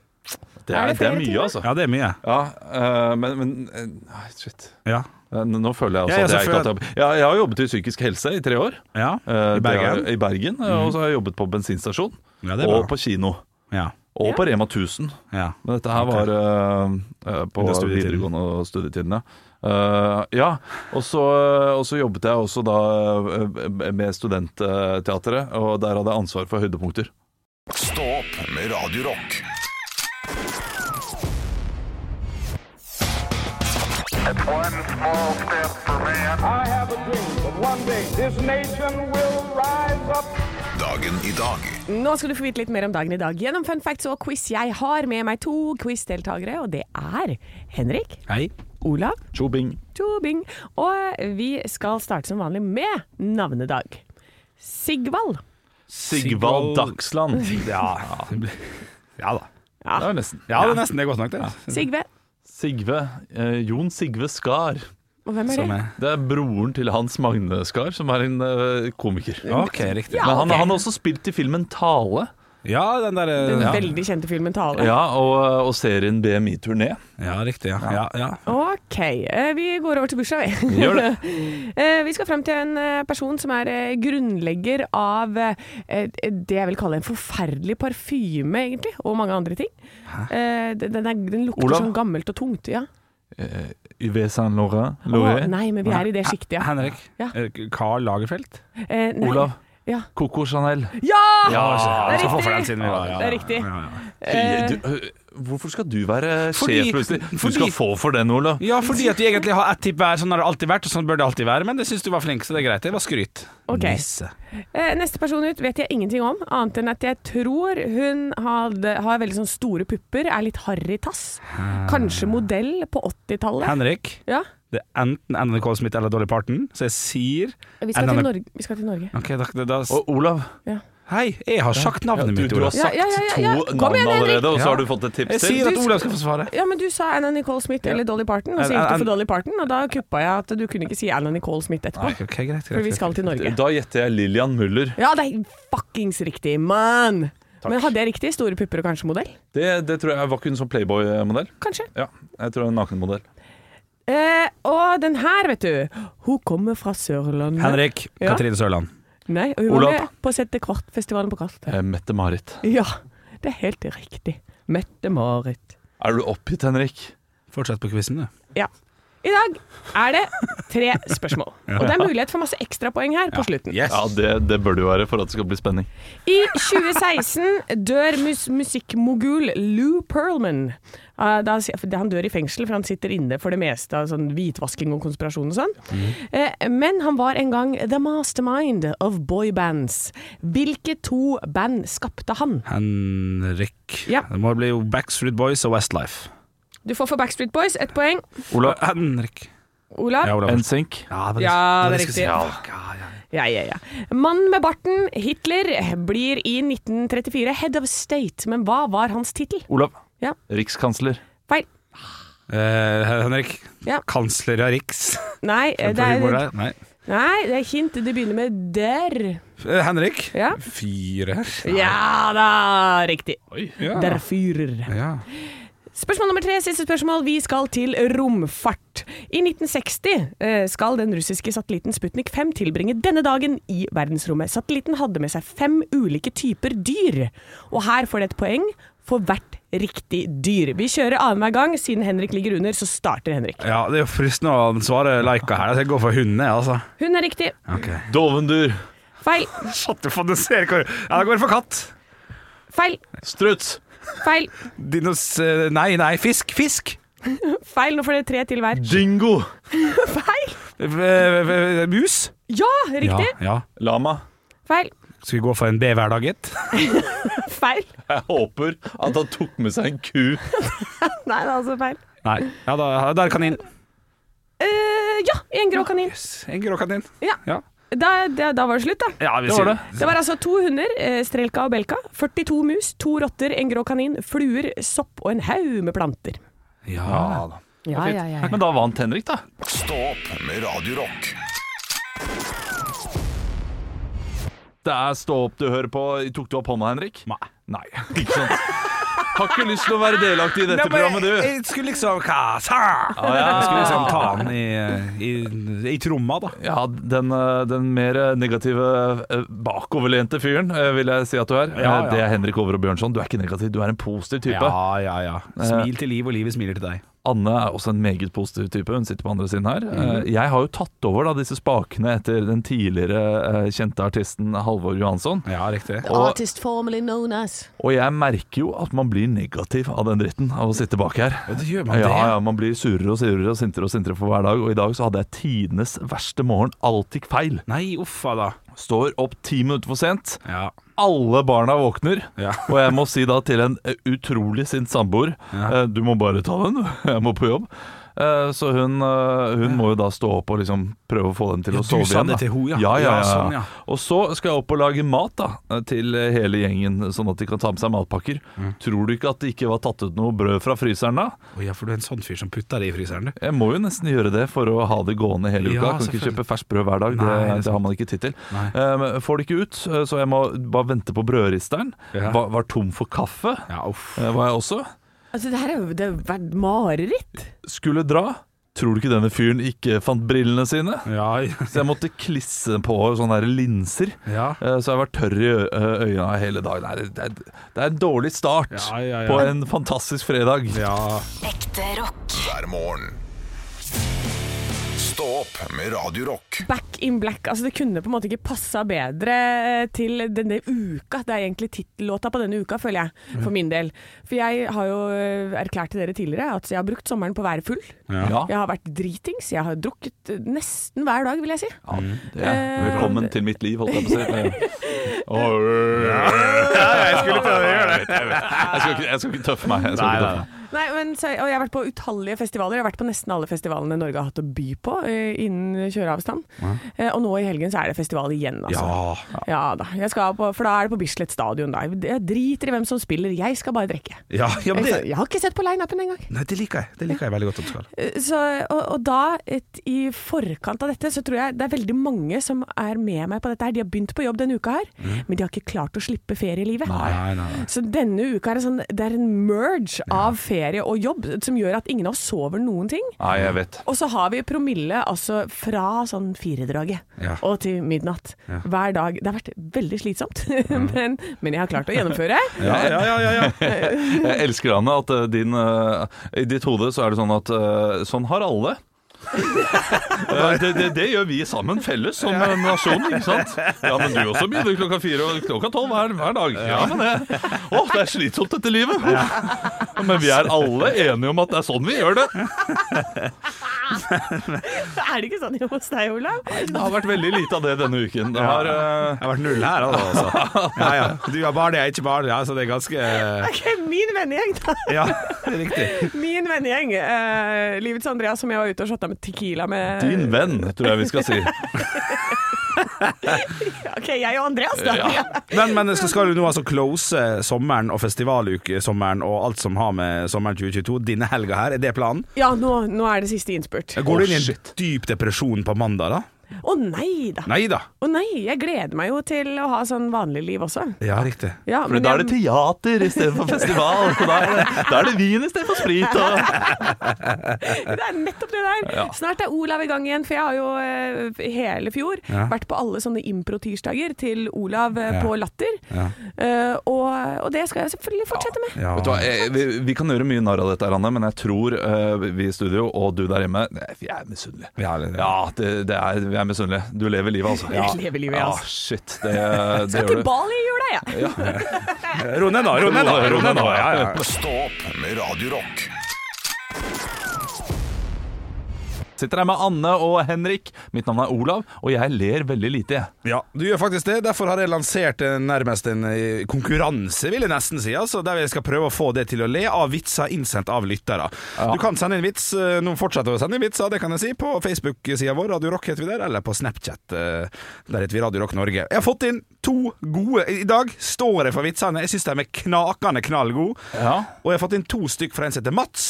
S3: Det
S2: Er
S3: er,
S2: det
S3: det
S2: flere
S3: er
S2: ting,
S3: mye,
S2: da?
S3: altså.
S1: Ja, det er mye.
S3: Ja, eh, men, men eh, nei, Shit.
S1: Ja.
S3: Eh, Nå nå føler jeg også
S1: Ja, jeg
S3: at jeg ikke har
S1: føler-
S3: hatt jobb. Ja, jeg har jobbet i psykisk helse i tre år.
S1: ja.
S3: Eh,
S1: I
S3: det er-
S1: Bergen.
S3: I Bergen eh, Og så har jeg jobbet på bensinstasjon.
S1: Ja, det er
S3: og
S1: bra.
S3: på kino.
S1: Ja.
S3: Og på Rema 1000.
S1: Ja.
S3: Men dette her var eh, eh, på
S1: Under studietiden.
S3: videregående og studietiden, ja. Eh, ja, og så, eh, og så jobbet jeg også da eh, med studentteatret, og der hadde jeg ansvar for høydepunkter.
S6: Stå opp med Radio Rock.
S7: One small step for man. I have a dream that one day this nation will rise up.
S6: Dagen i dag
S2: Nå skal du få vite litt mer om dagen i dag gjennom fun facts og quiz. Jeg har med meg to quizdeltakere, og det er Henrik,
S1: Hei.
S2: Olav
S3: Chobing.
S2: Tobing. Og vi skal starte som vanlig med navnedag. Sigvald.
S3: Sigvald Dagsland.
S1: Ja. ja da.
S3: Det er nesten.
S1: Ja, det er nesten det er godt nok, det.
S2: Sigve.
S3: Sigve. eh, Jon Sigve Skar.
S2: Og hvem er
S1: Som
S2: det?
S1: er
S3: Det er broren til Hans Magne Skar, som er en eh, komiker.
S1: OK, riktig.
S2: Ja.
S3: Men han,
S2: ok.
S3: han har også spilt i filmen Tale.
S1: Ja, den der
S2: Den
S1: ja.
S2: veldig kjente filmen 'Tale'.
S3: Ja, og, og serien BMI-turné.
S1: ja, riktig. Ja. Ja, ja.
S2: Ok, eh, vi går over til bursdag, vi.
S3: Gjør det.
S2: <laughs> Eh, Vi skal frem til en eh, person som er eh, grunnlegger av eh, det jeg vil kalle en forferdelig parfyme, egentlig, og mange andre ting. Eh, Den, den, er, den lukter
S3: Olav?
S2: sånn gammelt og tungt. Ja.
S3: Yves Saint Laurent.
S2: Å,
S3: Laurent.
S2: nei, men vi er i det sjiktet, ja.
S1: Henrik.
S2: Ja.
S1: Eh, Karl Lagerfeldt?
S2: Eh, nei.
S3: Olav.
S2: Ja!
S3: Coco Chanel.
S2: ja!
S1: Ja,
S2: det er
S1: vi skal få for den
S2: riktig.
S1: siden vi var- ja,
S2: Det er
S1: ja,
S2: riktig.
S1: Ja, ja.
S2: Eh.
S3: Du, øh, hvorfor skal du være
S1: Fordi-
S3: sjef plutselig? Du
S1: fordi-
S3: skal få for den, Olav.
S1: Ja, fordi at vi egentlig har ett tipp hver. Sånn har det alltid vært, og sånn bør det alltid være. Men det syns du var flink, så det er greit. Det var skryt.
S2: Ok.
S1: Nisse.
S2: Eh, Neste person ut vet jeg ingenting om, annet enn at jeg tror hun hadde, har veldig sånn store pupper, er litt harry tass. Kanskje modell på 80-tallet.
S1: Henrik,
S2: Ja.
S1: det er enten Anna Nicole Smith eller Dolly Parton, så jeg sier
S2: Vi skal,
S1: Anna-
S2: til Norge. vi skal til Norge.
S1: Ok, da, da,
S3: Og Olav,
S1: Hei, jeg har sagt navnet
S3: du,
S1: mitt,
S3: du har
S1: Olav.
S3: sagt
S2: Ja, ja, ja, ja.
S3: to
S2: Kom
S3: navn
S2: igjen, Henrik.
S3: allerede, og så
S1: Ja.
S3: har du fått et tips
S1: Jeg
S3: til.
S1: sier at Olav skal få svare.
S2: Ja, men du sa Anna Nicole Smith eller Dolly Parton, og så
S1: An-
S2: gikk du
S1: an-
S2: for Dolly Parton, og da kuppa jeg at du kunne ikke si Anna Nicole Smith etterpå,
S1: Nei, ok, greit, greit,
S2: for vi
S1: greit.
S2: skal til Norge.
S3: Da gjetter jeg Lillian Muller.
S2: Ja, det er fuckings riktig, mann! Men hadde jeg riktig? Store pupper og kanskje modell?
S3: Det, det tror jeg var ikke hun som Playboy-modell.
S2: Kanskje.
S3: Ja, jeg tror hun er nakenmodell.
S2: Eh, og den her, vet du. Hun kommer fra Sørlandet.
S1: Henrik
S2: Ja.
S1: Katrine Sørland.
S2: Nei, og hun
S3: Olav.
S2: var med på Sette Kvart-festivalen på Kast.
S3: Eh, Mette-Marit.
S2: Ja, det er helt riktig. Mette-Marit.
S3: Er du oppgitt, Henrik?
S1: Fortsett på quizen, du.
S2: Ja. I dag er det tre
S1: <laughs>
S2: spørsmål. Og det er mulighet for masse ekstrapoeng her på slutten.
S1: Yes.
S3: Ja, det, det bør det jo være for at det skal bli spenning.
S2: I 2016 dør mus musikkmogul Lou Pearlman. Eh, da, for han dør i fengsel, for han sitter inne for det meste av sånn hvitvasking og konspirasjon og sånn.
S1: Mhm.
S2: Eh, men han var en gang the mastermind of boybands. Hvilke to band skapte han?
S1: Henrik.
S2: Ja.
S1: Det må bli jo Backstreet Boys og Westlife.
S2: Du får for Backstreet Boys ett poeng.
S3: Olav,
S1: Henrik.
S2: Olav?
S1: Ja, Olav.
S3: NSYNC.
S1: Ja,
S2: Ja, det er
S1: jeg skulle
S2: riktig.
S1: si. Fuck, ja, ja.
S2: Ja, ja, ja. Mannen med barten, Hitler, blir i 1934 head of state, men hva var hans tittel?
S3: Olav.
S2: Ja.
S3: Rikskansler.
S2: Feil.
S1: Eh, Henrik.
S2: Ja.
S1: Kansler av Riks.
S2: Nei, Eh, det
S1: Hvor
S2: er,
S1: er- Nei.
S2: nei, det er hint. Det begynner med der.
S1: Eh, Henrik.
S2: Ja.
S1: Fyrer.
S2: Ja da, riktig.
S1: Ja.
S2: Der fyrer.
S1: Ja.
S2: Spørsmål nummer tre, siste spørsmål. Vi skal til romfart. I 1960 eh, skal den russiske satellitten Sputnik 5 tilbringe denne dagen i verdensrommet. Satellitten hadde med seg fem ulike typer dyr, og her får det et poeng for hvert riktig dyr. Vi kjører annenhver gang. Siden Henrik ligger under, så starter Henrik.
S1: ja, det er jo fristende å svare Laika her. Jeg går for hundene, altså.
S2: Hun er riktig.
S1: Ok.
S3: Dovendyr.
S2: Feil,
S1: Shut the fuck, du ser hvor Ja, da går jeg for katt.
S2: feil,
S3: Struts.
S2: feil.
S1: Dinos... eh, Nei, nei, fisk. Fisk.
S2: Feil. Nå får dere tre til hver.
S3: Dingo.
S2: Feil!
S1: Eh, eh, eh, Mus?
S2: Ja, riktig.
S1: Ja, ja.
S3: Lama.
S2: Feil,
S1: Skal vi gå for en B hver dag, gitt?
S2: feil.
S3: Jeg håper at han tok med seg en ku.
S2: Nei, det er altså feil.
S1: Nei. Ja, da, da er det kanin.
S2: Eh, ja, en grå kanin.
S1: En grå kanin.
S2: Ja.
S1: Ja,
S2: Da, da, da var det slutt, da.
S1: ja vi
S3: Det
S1: sier
S3: var
S1: det.
S3: det.
S2: Det var altså to hunder, eh, Strelka og Belka, 42 mus, to rotter, en grå kanin, fluer, sopp og en haug med planter.
S1: Ja.
S2: Ja, ja, ja.
S3: Men da vant Henrik, da.
S6: Stå opp med Radio Rock
S3: Det er stå opp du hører på. Tok du opp hånda, Henrik?
S1: Nei.
S3: Nei. <laughs> Ikke sant? Har ikke lyst til å være delaktig i dette programmet, du.
S1: Jeg skulle liksom hva, sa? Jeg skulle liksom ta han i, i, i tromma, da.
S3: Ja, den, eh, den mer negative eh, bakoverlente fyren eh, vil jeg si at du er. Eh,
S1: Ja, ja.
S3: Det er Henrik Over og Bjørnson. Du er ikke negativ, du er en positiv type.
S1: Ja, ja, ja. Smil til liv, og livet smiler til deg.
S3: Anne er også en meget positiv type. Hun sitter på andre siden her.
S1: Mm.
S3: Eh, Jeg har jo tatt over da, disse spakene etter den tidligere eh, kjente artisten Halvor Johansson.
S1: Ja, riktig.
S3: Og-
S5: Artist formerly known as.
S3: Og jeg merker jo at man blir negativ av den dritten av å sitte bak her.
S1: Ja, det gjør man det.
S3: Ja, ja, man blir surere og surere og sintere og sintere for hver dag. Og i dag så hadde jeg tidenes verste morgen. Alt gikk feil.
S1: Nei, uffa da.
S3: Står opp ti minutter for sent.
S1: Ja.
S3: Alle barna våkner.
S1: Ja.
S3: Og jeg må si da til en eh, utrolig sint samboer
S1: Ja.
S3: eh, Du må bare ta den, du. <laughs> Jeg må på jobb. Eh, Så hun, eh, hun må jo da stå opp og liksom prøve å få dem til
S1: Ja,
S3: å
S1: du
S3: sove igjen.
S1: sa det
S3: da.
S1: til ho, ja.
S3: Ja, ja,
S1: Ja,
S3: ja.
S1: sånn, ja.
S3: Og så skal jeg opp og lage mat da, eh, til hele gjengen, sånn at de kan ta med seg matpakker.
S1: Mm.
S3: Tror du ikke at det ikke var tatt ut noe brød fra fryseren da?
S1: Å ja, for du er en sånn fyr som putter det i fryseren, du.
S3: Jeg må jo nesten gjøre det for å ha det gående hele uka.
S1: Ja,
S3: kan ikke
S1: selvfølgelig.
S3: kjøpe ferskt brød hver dag.
S1: Nei, det
S3: det,
S1: er
S3: det har man ikke tid til.
S1: Nei.
S3: Ehm, får det ikke ut, så jeg må bare vente på brødristeren.
S1: Ja.
S3: Var, var tom for kaffe,
S1: Ja, uff.
S3: eh, var jeg også.
S2: Altså, det her er jo det har vært mareritt.
S3: Skulle dra. Tror du ikke denne fyren ikke fant brillene sine?
S1: Ja, <laughs>
S3: Så jeg måtte klisse på sånne her linser.
S1: ja.
S3: Eh, Så jeg har vært tørr i ø- ø- øynene hele dagen. Nei, det, det, er- det er en dårlig start
S1: Ja, ja, ja.
S3: på en fantastisk fredag.
S1: ja.
S8: Ekte rock.
S6: hver morgen. Stå opp med Radio Rock.
S2: Back in black. Altså, det kunne på en måte ikke passa bedre eh, til denne uka. Det er egentlig tittellåta på denne uka, føler jeg, for min del. For jeg har jo eh, erklært til dere tidligere at jeg har brukt sommeren på å være full.
S3: Ja.
S2: Jeg har vært dritings, jeg har drukket eh, nesten hver dag, vil jeg si.
S3: Ja, Eh, det er. Velkommen til mitt liv, holdt jeg på å <laughs> si. jeg skulle prøve å gjøre det. Jeg skal ikke, jeg skal ikke tøffe meg. Jeg skal ikke tøffe meg.
S2: Nei, men, så, og jeg har vært på utallige festivaler. Jeg har vært på nesten alle festivalene Norge har hatt å by på eh, innen kjøreavstand. Eh, og nå i helgen så er det festival igjen, altså. Ja, da. Jeg skal på, for da er det på Bislett stadion, da. Jeg driter i hvem som spiller, jeg skal bare drikke.
S1: Ja, ja, men
S2: Jeg,
S1: det,
S2: skal- jeg har ikke sett på line-upen engang.
S1: nei, det liker jeg. Det liker jeg veldig godt at du skal.
S2: Eh, Så, og, og da, et, i forkant av dette, så tror jeg det er veldig mange som er med meg på dette her. De har begynt på jobb denne uka her, men de har ikke klart å slippe ferielivet.
S1: Mm. Nei, nei, nei.
S2: Så denne uka er det, sånn, det er en merge av ferie og jobb som gjør at ingen av oss sover noen ting.
S3: Nei, jeg vet.
S2: Og så har vi promille altså fra sånn firedraget
S1: Ja.
S2: og til midnatt hver dag. Det har vært veldig slitsomt, <laughs> men, men jeg har klart å gjennomføre.
S1: Ja, ja, ja, ja, ja.
S3: Jeg elsker Anne at eh, din, eh, i ditt hode så er det sånn at eh, sånn har <laughs> alle. Eh, det, det, det gjør vi sammen, felles, som eh, nasjon. ikke sant? Ja, men du også begynner klokka fire og klokka tolv hver, hver dag. Ja, men det, å, det er slitsomt, dette livet. Men vi er alle enige om at det er sånn vi gjør det.
S2: Er det ikke sånn hos deg, Olav?
S3: Det har vært veldig lite av det denne uken. Det har, eh,
S1: Jeg har vært null her, da, altså. Ja, ja. Du er barn, jeg er ikke barn. Ja, så det er ganske
S2: Ok, min vennegjeng, da.
S1: Ja, det er riktig.
S2: Min vennegjeng, eh, Livets Andreas, som jeg var ute og shotta med Tequila med
S3: din venn, tror jeg vi skal
S2: <laughs>
S3: si.
S2: Ok, jeg og Andreas, da.
S3: Ja.
S1: Men, men skal, skal du nå altså close sommeren og festivalukesommeren og alt som har med sommeren 2022, denne helga her, er det planen?
S2: Ja, nå, nå er det siste innspurt. Å
S1: Går du inn i en dyp depresjon på mandag, da?
S2: nei da.
S1: Nei da.
S2: Å nei, jeg gleder meg jo til å ha sånn vanlig liv også.
S1: Ja, riktig.
S2: Ja,
S3: For da er det teater istedenfor
S2: <laughs>
S3: festival. og Da er det, da er det vin istedenfor sprit. Og
S2: <laughs> Det er nettopp det der. Snart er Olav i gang igjen, for jeg har jo eh, hele fjor
S1: Ja.
S2: vært på alle sånne impro-tirsdager til Olav eh,
S1: Ja.
S2: på Latter.
S1: Ja.
S2: Eh, og, og det skal jeg selvfølgelig fortsette med.
S1: Ja.
S3: Vet du hva, jeg, vi, vi kan gjøre mye narr av dette, her, Anne, men jeg tror eh, vi i studio og du der hjemme nei, Vi er misunnelige.
S1: Ja, eller-
S3: Ja, det, det er, vi er misunnelige. Du lever livet, altså.
S2: Jeg lever livet,
S3: ja.
S2: altså.
S3: Shit, det, det
S2: Skal
S3: gjør
S2: til
S3: du.
S2: Bali i jula, jeg. Ja.
S1: Ro ned, da. Ro ned, da. Ro ned, da. Ja, ja.
S6: Stå opp med Radio Rock.
S3: Sitter her med Anne og Henrik. Mitt navn er Olav, og jeg ler veldig lite, jeg.
S1: Ja, du gjør faktisk det. Derfor har jeg lansert eh, nærmest en eh, konkurranse, vil jeg nesten si. Altså, der vi skal prøve å få det til å le av vitser innsendt av lyttere. Du kan sende inn vits. eh, Nå fortsetter å sende inn vitser, det kan jeg si, på Facebook-sida vår, Radio Rock heter vi der, eller på Snapchat. eh, Der heter vi Radio Rock Norge. Jeg har fått inn to gode I dag står jeg for vitsene. Jeg syns de er knakende knallgode.
S3: Ja.
S1: Og jeg har fått inn to stykk fra en som heter Mats.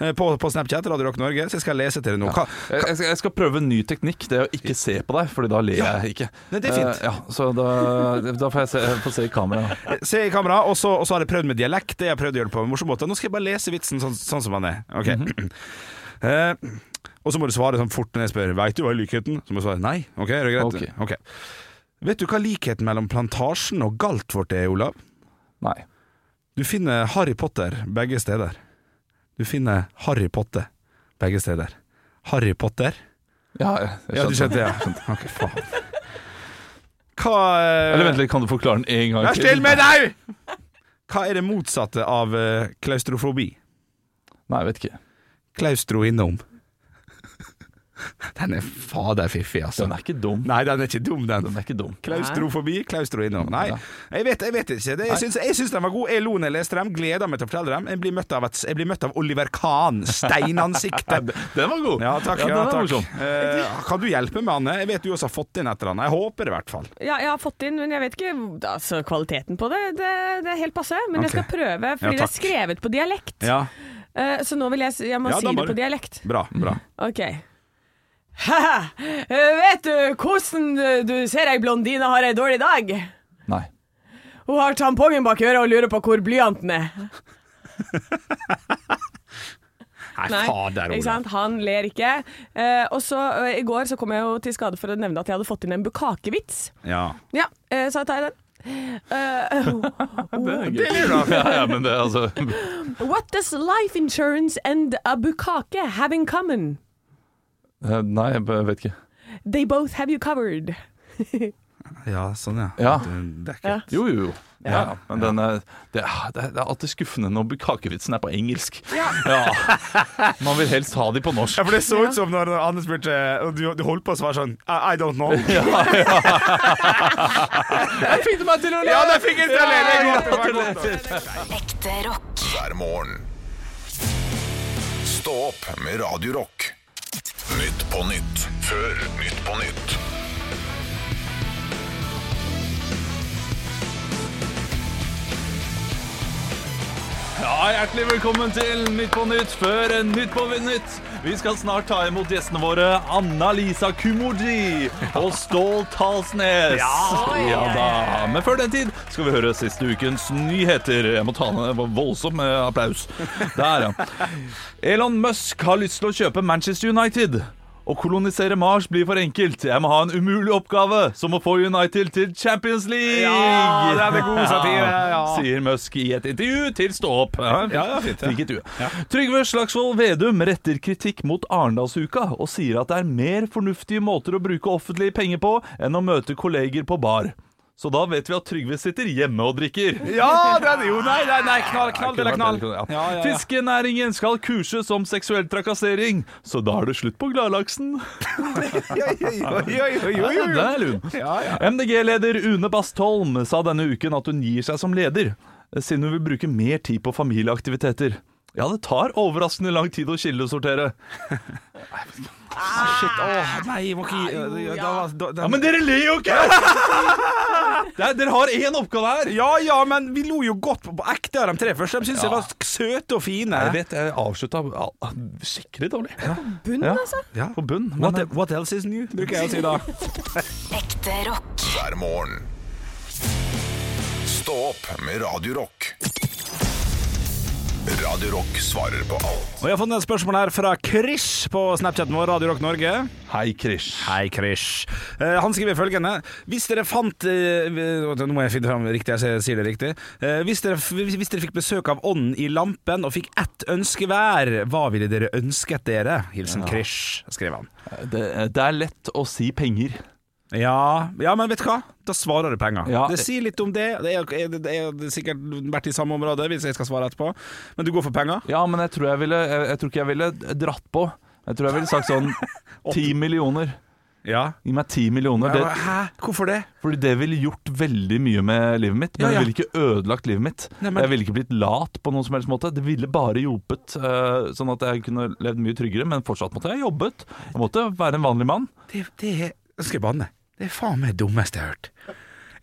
S1: eh, på, på Snapchat, Radio Rock Norge, så jeg skal lese til dere nå. Hva,
S3: Jeg, jeg skal- jeg skal prøve en ny teknikk. Det er å ikke se på deg, Fordi da ler jeg ikke.
S1: Nei, det er fint.
S3: Eh, ja, så da, da får jeg se, jeg får se i kamera.
S1: se i kamera, og så, og så har jeg prøvd med dialekt. Det har jeg prøvd å gjøre det på en morsom måte. Nå skal jeg bare lese vitsen sånn, sånn som han er. Ok. <clears throat> Eh, og så må du svare sånn fort når jeg spør Veit du hva er likheten? Så må du svare nei. Ok, er det greit?
S3: Ok.
S1: Ok. Vet du hva likheten mellom Plantasjen og Galtvort er, Olav?
S3: Nei.
S1: Du finner Harry Potter begge steder. Du finner Harry Potter begge steder. Harry Potter?
S3: Ja, jeg, jeg
S1: Ja, du skjønte det, ja. Ok, faen. Hva eh,
S3: Eller vent litt, kan du forklare den en gang
S1: Vær still med deg! <laughs> Hva er det motsatte av eh, klaustrofobi?
S3: Nei, jeg vet ikke.
S1: Klaustro innom. Den er fader fiffig, altså.
S3: Den er ikke dum.
S1: Nei, den er ikke dum, den.
S3: Den er ikke dum.
S1: Klaustrofobi, klaustro innom. Nei, jeg vet, jeg vet ikke. Det, jeg, syns, jeg syns den var god. Jeg lo når jeg leste dem. Gleder meg til å fortelle dem. Jeg blir møtt av, et, jeg blir møtt av Oliver Kahn. Steinansiktet.
S3: Den var
S1: <laughs>
S3: god.
S1: Ja, takk.
S3: den
S1: Ja,
S3: er
S1: takk.
S3: morsom.
S1: Eh, kan du hjelpe med, Anne? Jeg vet du også har fått inn et eller annet. Jeg håper det, i hvert fall.
S2: Ja, jeg har fått inn, men jeg vet ikke altså, kvaliteten på det. Det, det er helt passe. Men jeg
S1: Ok.
S2: skal prøve,
S1: Ja,
S2: fordi det er
S1: takk.
S2: skrevet på dialekt.
S1: Ja,
S2: Eh, så nå vil jeg, s- jeg må
S1: Ja,
S2: si
S1: da
S2: det
S1: må
S2: på
S1: du.
S2: dialekt.
S1: bra, bra.
S2: Ok. <laughs> Haha, vet du hvordan du- du ser ei blondine har ei dårlig dag?
S3: Nei.
S2: Hun har tampongen bak øret og lurer på hvor blyanten er.
S1: <laughs> Nei,
S2: Nei,
S1: fader,
S2: ikke
S1: Olav.
S2: sant? Han ler ikke. Eh, og så eh, I går så kom jeg jo til skade for å nevne at jeg hadde fått inn en bukakevits.
S1: Ja.
S2: Ja, eh, så jeg tar den. Eh, <laughs>
S3: Det er gøy. <laughs> Ja, ja, men det er altså
S2: what does life insurance and a bukake have in common?
S3: Eh, Nei, jeg b- vet ikke.
S2: They both have you covered.
S1: Ja, sånn, ja.
S3: Ja.
S1: Det er ikke
S2: Ja.
S3: Jo, jo, jo. Ja, ja. Men den er, det, er, det er alltid skuffende når kakevitsen er på engelsk. Ja. Man vil helst ha de på norsk.
S1: Ja, for det så ut som når Anne spurte og du, du holdt på å svare sånn I, I don't
S3: <laughs>
S1: know.
S3: Jeg fikk det meg til å
S1: Ja, det fikk jeg til å le! Det er godt, det var godt.
S8: Ekte rock.
S6: hver morgen. Stå opp med Radio Rock. Nytt på nytt før Nytt på nytt.
S3: Ja, Hjertelig velkommen til Nytt på Nytt før Nytt på Nytt. Vi skal snart ta imot gjestene våre Anna-Lisa Kumodi og Stål Talsnes. Ja, da. Men før den tid skal vi høre siste ukens nyheter. Jeg må ta ned en voldsom eh, applaus. Der, ja. Elon Musk har lyst til å kjøpe Manchester United. Å kolonisere Mars blir for enkelt. Jeg må ha en umulig oppgave, som å få United til Champions League!
S1: Ja, det er det god satire, ja.
S3: Sier Musk i et intervju til Stå opp.
S1: Ja, ja, fint, ja.
S3: Fikk et ue. Trygve Slagsvold Vedum retter kritikk mot Arendalsuka og sier at det er mer fornuftige måter å bruke offentlige penger på enn å møte kolleger på bar. Så da vet vi at Trygve sitter hjemme og drikker.
S1: <laughs> Ja, det er det jo. Nei, nei, nei. Knall,
S3: Ja,
S1: knall
S3: det
S1: eller
S3: kunne
S1: knall.
S3: vært bedre, kunne
S1: Ja,
S3: det, ja.
S1: ja, ja.
S3: Fiskenæringen skal kurses om seksuell trakassering, så da er det slutt på gladlaksen.
S1: Oi, oi, oi, oi,
S3: Ja,
S1: oi.
S3: det er lun. MDG-leder Une Bastholm sa denne uken at hun gir seg som leder, siden hun vil bruke mer tid på familieaktiviteter. Ja, det tar overraskende lang tid å kildesortere.
S1: Shit, åh, nei, jeg må ikke gi ja, da var- da- da-
S3: Ja, men dere ler jo <laughs> ikke! Det er, dere har én oppgave her.
S1: ja, ja, men vi lo jo godt på, på ekte av de tre første. De syntes jeg var søte og fine.
S3: Jeg vet, jeg avslutta ja, skikkelig dårlig.
S2: Bunn,
S3: Ja.
S2: altså.
S1: Ja.
S3: På bunn. Men,
S1: What, what else is new, bruker jeg å si
S3: <laughs>
S1: da.
S8: Ekte rock.
S6: hver morgen. Stå opp med Radio Rock. Radio Rock svarer på alt
S1: Og Jeg har fått et spørsmål her fra Krish på Snapchaten vår, Radio Rock Norge.
S3: hei, Krish.
S1: Hei, Krish. Eh, han skriver følgende Hvis dere fant eh, v- Nå må jeg finne fram riktig, jeg sier- sier det riktig. Eh, hvis, dere, f- hvis hvis dere fikk besøk av ånden i lampen og fikk ett ønske hver, hva ville dere ønsket dere? Hilsen Krish, skrev han.
S3: Det, det er lett å si penger.
S1: Ja, ja, men vet du hva? Da svarer du penger.
S3: Ja.
S1: Det sier litt om det. Det er, det er, det er sikkert vært i samme område, hvis jeg skal svare etterpå. Men du går for penger?
S3: Ja, men jeg tror, jeg, ville, jeg, jeg tror ikke jeg ville dratt på. Jeg tror jeg ville sagt <laughs> sånn ti millioner.
S1: Ja.
S3: Gi meg ti millioner. Det,
S1: Hæ? Hvorfor det?
S3: fordi det ville gjort veldig mye med livet mitt. Men
S1: Ja, ja.
S3: det ville ikke ødelagt livet mitt.
S1: Nei, men-
S3: Jeg ville ikke blitt lat på noen som helst måte. Det ville bare hjulpet, eh, sånn at jeg kunne levd mye tryggere. Men fortsatt måtte jeg jobbet. Jeg måtte være en vanlig mann.
S1: Det, det er Nå skal jeg banne. Det er faen meg det dummeste jeg har hørt.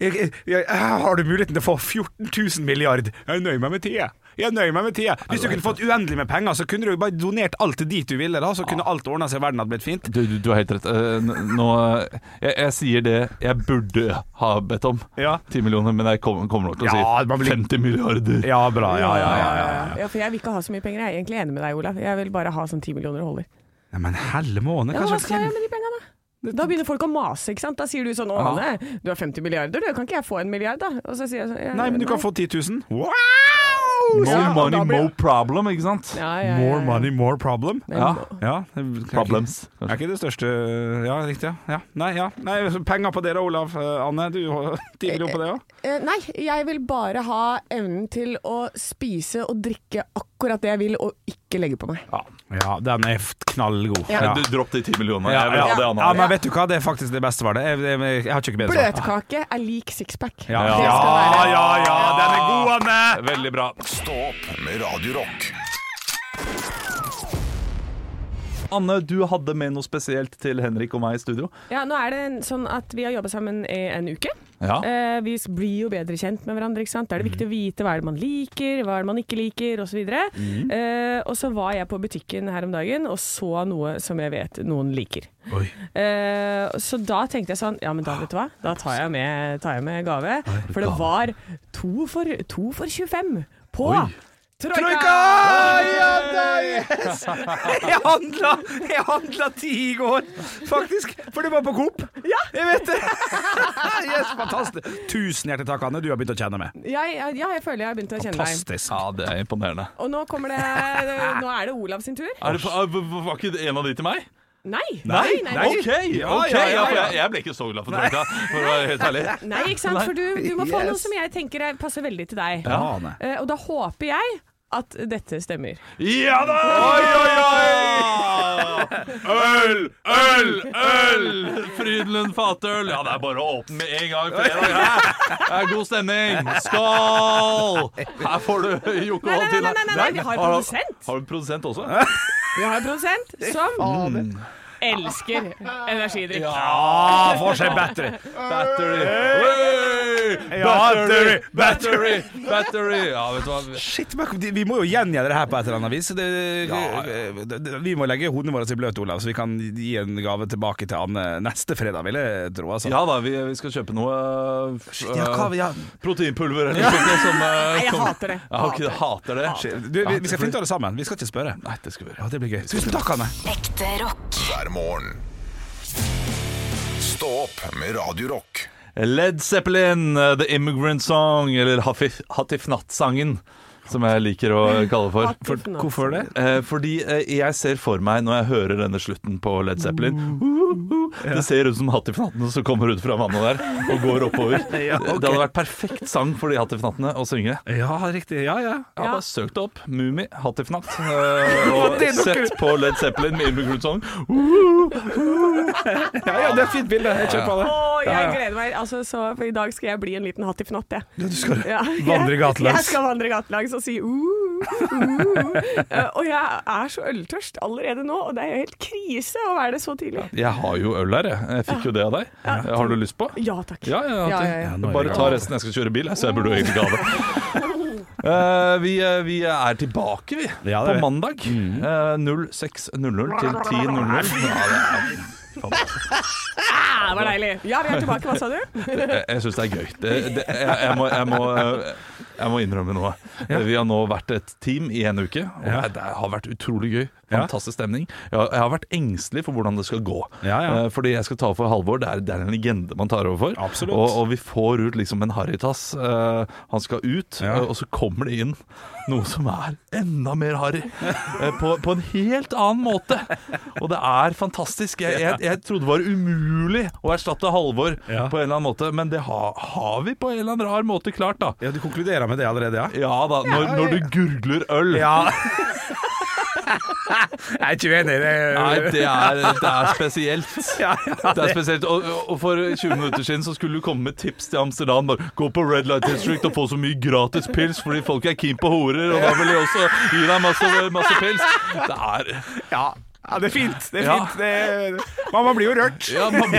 S1: Jeg, jeg, jeg, her har du muligheten til å få 14 000 milliard? Jeg nøyer meg med 10, jeg. Jeg nøyer meg med tida. Hvis du kunne fått uendelig med penger, så kunne du jo bare donert alt til dit du ville, da. Så kunne alt ordna seg, verden hadde blitt fint.
S3: Du, du, du har helt rett. Eh, n- Nå, eh, jeg, jeg sier det jeg burde ha bedt om.
S1: Ja.
S3: 10 millioner, men jeg kom- kommer nok til å
S1: Ja,
S3: si
S1: det bare blir-
S3: 50 milliarder.
S1: Ja, bra. Ja, ja, ja. ja, ja.
S2: Ja, for jeg vil ikke ha så mye penger. Jeg er egentlig enig med deg, Olav. Jeg vil bare ha sånn ti millioner og holder.
S1: Nei, men helle måned,
S2: Ja, hva skal jeg
S1: kanskje.
S2: gjøre med de pengene? Da begynner folk å mase, ikke sant. Da sier du sånn Å,
S3: Ja.
S2: Hanne, du har 50 milliarder, du. Kan ikke jeg få en milliard, da? Og så sier jeg sånn «Ja,
S1: Nei, men du kan få 10 000. Wow!
S3: More
S2: Ja, og
S3: money,
S2: da blir-
S3: more problem, ikke sant?
S2: Ja, ja, ja, ja.
S1: More money, more problem.
S2: Men-
S3: Ja,
S1: Ja, det er ikke-
S3: problems.
S1: Er ikke det største Ja, riktig. ja. ja. Nei, ja. Nei, penger på dere, Olav. Eh, Anne, du <laughs> har 10 millioner på det òg?
S2: Eh, Nei, jeg vil bare ha evnen til å spise og drikke akkurat det jeg vil, og ikke legge på
S1: Altså,
S2: meg.
S3: Ja.
S1: Ja, den er f- knallgod.
S2: Ja.
S3: Du, dropp de 10 millionene.
S1: Ja,
S3: Jeg vil ha det,
S1: ja.
S3: Anna.
S1: ja, men vet du hva, det er faktisk det beste var det. Jeg, jeg, jeg har ikke bedre svar.
S2: Bløtkake er lik sixpack.
S1: Ja.
S2: Det
S1: Ja,
S2: skal være-
S1: ja, ja, den er god, Anne!
S3: Veldig bra.
S6: Stå opp med Radio Rock.
S3: Anne, du hadde med noe spesielt til Henrik og meg i studio.
S2: Ja, nå er det en- sånn at vi har jobba sammen i en uke.
S3: Ja.
S2: Eh, vi blir jo bedre kjent med hverandre. ikke sant? Da er det viktig å vite hva er det man liker, hva er det man ikke liker, osv. Mm. Eh, og så var jeg på butikken her om dagen og så noe som jeg vet noen liker. Eh, så da tenkte jeg sånn Ja, men da vet du hva, da tar jeg med, tar jeg med gave. For det var to for, to for 25 på Troika!
S1: <laughs> Jeg handla, jeg handla ti i går, faktisk. For det var på Coop. Ja. Jeg vet det. <laughs> Yes, fantastisk. Tusen hjertelig takk, Anne. Du har begynt å kjenne meg.
S2: Jeg, jeg, ja, jeg føler jeg har begynt å kjenne deg.
S1: Fantastisk.
S3: Ja, det er imponerende.
S2: Og nå kommer det Nå er det Olav sin tur.
S3: Er det, er- var ikke det en av de til meg?
S2: Nei!
S1: Nei,
S2: nei,
S3: OK!
S1: Ja,
S3: ok,
S1: ja, ja,
S3: ja, for
S1: ja.
S3: jeg, jeg ble ikke så glad for Troika, for å være helt ærlig.
S2: Nei, ikke sant? For du, du må få
S4: Yes.
S2: noe som jeg tenker er, passer veldig til deg.
S1: Ja, Anne.
S2: Eh, og da håper jeg at dette stemmer.
S3: Ja da! Oi, oi, oi! Øl, øl, øl! Frydenlund fatøl. Ja, det er bare å åpne med en gang fredag. Ja. Det er god stemning. Skål! Her får du Joko
S2: Nei, nei,
S3: og
S2: nei,
S3: Tina.
S2: nei, nei, nei, vi har en
S3: Har-
S2: produsent.
S3: Har du en produsent også?
S2: Vi har en produsent
S1: <laughs>
S2: som elsker energidrikk.
S1: Ja, får seg battery.
S3: Battery. Hey! Battery, battery, battery. Ja, vet du hva?
S1: Shit, men de- vi må jo gjengjelde det her på et eller annet vis. Det, det, det, vi må legge hodene våre i bløt, Olav, så vi kan gi en gave tilbake til Anne neste fredag, vil jeg tro. Altså.
S3: Ja da, vi, vi skal kjøpe noe øh,
S1: Ja, hva, ja.
S3: proteinpulver eller noe sånt. Som, øh,
S2: Jeg
S3: som-
S2: hater det.
S3: Ja, ok, du hater det.
S1: Du, vi, vi skal finne ut av det sammen. Vi skal ikke spørre.
S3: Nei, det skal vi gjøre.
S1: Ja, det blir gøy. Tusen takk, Anne.
S8: Ekte rock.
S6: hver morgen. Stå opp med Radio Rock.
S3: Led Zeppelin, uh, The Immigrant Song, eller Hatif, Hatifnatt-sangen, som jeg liker å kalle for. for
S2: Hatifnatt.
S1: Hvorfor det?
S3: Eh, fordi eh, jeg ser for meg, når jeg hører denne slutten på Led Zeppelin uh, uh, Det ser ut som Hattifnattene som kommer ut fra vannet der og går oppover. Det hadde vært perfekt sang for de Hattifnattene å synge.
S1: Ja, riktig. Ja, ja.
S3: Jeg har bare søkt det opp. Mummi, Hattifnatt. eh, og
S1: Det er nok-
S3: sett på Led Zeppelin med Immigrant Song.
S1: Ja, ja, det er et fint bilde. Jeg kjøper det.
S2: Å, jeg gleder meg. Altså, så, for I dag skal jeg bli en liten hattifnatt, jeg.
S1: Du skal
S2: Ja.
S1: <laughs> vandre gatelangs.
S2: Jeg skal vandre gatelangs og si uh, uh. Eh, Og jeg er så øltørst allerede nå, og det er jo helt krise å være det så tidlig.
S3: Jeg har jo øl her, jeg. Jeg fikk jo det av deg. Eh, Har du lyst på?
S2: Ja takk.
S3: Ja, ja, ja.
S2: Ja, ja, ja.
S1: Ja, nå er
S3: Bare
S1: det
S3: ta resten, jeg skal kjøre bil, jeg, så jeg burde jo egentlig ikke
S2: <laughs>
S3: ha det. Eh, vi, eh, vi er tilbake, vi,
S1: Ja, det er vi.
S3: på
S1: Mm.
S3: mandag. Eh, 06.00 til 10.00. Ja, det er- faen,
S2: Ja, Ah, det var deilig. Ja, vi er tilbake. Hva sa du?
S3: Jeg, jeg syns det er gøy. Det, det, jeg, jeg, må, jeg, må, eh, jeg må innrømme noe. Vi har nå vært et team i en uke, og
S1: Ja.
S3: det har vært utrolig gøy.
S1: Ja.
S3: Fantastisk stemning. Jeg har, jeg har vært engstelig for hvordan det skal gå.
S1: Ja, ja.
S3: Eh, Fordi jeg skal ta over for Halvor. Det er, det er en legende man tar over for.
S1: Absolutt.
S3: Og, og vi får ut liksom en harrytass. Eh, Han skal ut,
S1: Ja.
S3: eh, og så kommer det inn noe som er enda mer harry. Eh, På, på en helt annen måte. Og det er fantastisk. Jeg, jeg, jeg trodde det var umulig å erstatte Halvor
S1: Ja.
S3: på en eller annen måte, men det har, har vi på en eller annen rar måte klart, da.
S1: Ja, du konkluderer med det allerede, ja?
S3: Ja da, når, når du gurgler øl.
S1: Jeg er ikke uenig. Det
S3: Nei, <laughs> det er, det er spesielt. Det er spesielt. Og, og for 20 minutter siden så skulle du komme med tips til Amsterdam. Bare, Gå på Red Light District og få så mye gratis pils, fordi folk er keen på horer, og da vil de også gi deg masse, masse pils. Det er
S1: ja. Ja, det er fint. Det er
S3: Ja.
S1: fint. Det er... Mamma blir jo rørt.
S3: Ja, man,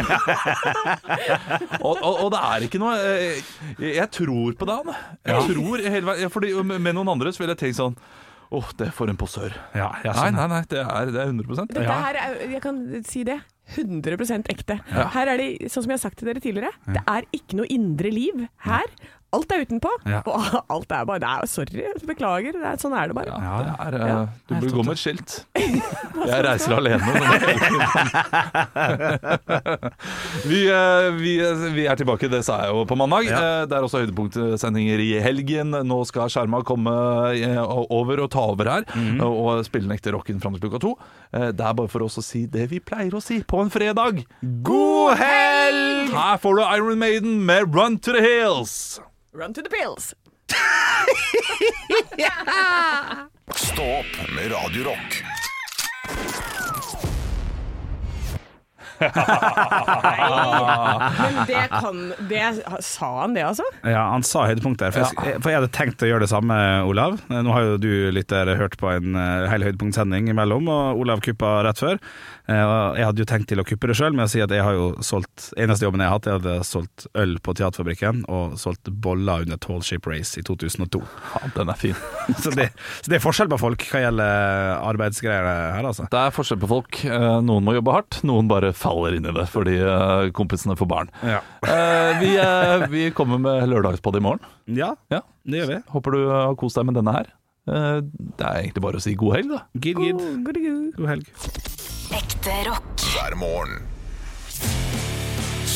S3: og, og, og det er ikke noe eh, Jeg, jeg tror på deg, han. Jeg tror hele veien, ja, fordi um, Med noen andre så ville jeg tenkt sånn Åh, det er for en posør.
S1: Ja, ja,
S3: Nei,
S1: sånn.
S3: nei, nei, det er, det er 100
S2: Dette her er, jeg kan si det, 100 ekte. Her er det, sånn som jeg har sagt til dere tidligere, det er ikke noe indre liv her. Alt er utenpå,
S1: Ja.
S2: og <laughs> alt er bare det er, Sorry, beklager, det er, sånn er det bare.
S3: Ja, det er, eh,
S2: Ja.
S3: Du burde gå med et skilt. Jeg reiser alene. <laughs> vi, eh, vi, vi er tilbake, det sa jeg jo på mandag. Eh, Det er også høydepunktsendinger i helgen. Nå skal skjerma komme eh, over og ta over her, eh, og spille den ekte rocken fram til klokka to. Eh, Det er bare for oss å si det vi pleier å si på en fredag. God helg! Her får du Iron Maiden med Run to the Hills.
S2: Run to the pills!
S6: Stå opp med Radio Rock.
S2: Men det kan det, Sa han det, altså?
S1: Ja, han sa høydepunktet. For, jeg, for jeg hadde tenkt å gjøre det samme, Olav. Eh, Nå har jo du lytter hørt på en eh, hel høydepunktsending imellom, og Olav kuppa rett før. Eh, og Jeg hadde jo tenkt til å kuppe det sjøl med å si at jeg har jo solgt Eneste jobben jeg har hatt, jeg hadde solgt øl på Teaterfabrikken og solgt boller under Tall Ship Race i 2002.
S3: Ja, den er fin.
S1: <laughs> Så det, så det er forskjell på folk hva gjelder eh, arbeidsgreier her, altså.
S3: Det er forskjell på folk. Eh, Noen må jobbe hardt, noen bare faller inn i det fordi eh, kompisene får barn.
S1: Ja.
S3: Eh, Vi, eh, vi kommer med lørdagspodd i morgen.
S1: ja,
S3: Ja.
S1: det gjør vi.
S3: Håper du har kost deg med denne her. Eh, Det er egentlig bare å si god helg, da.
S1: Gid, gid. God helg.
S8: Ekte rock.
S6: hver morgen.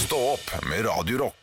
S6: Stå opp med Radio Rock.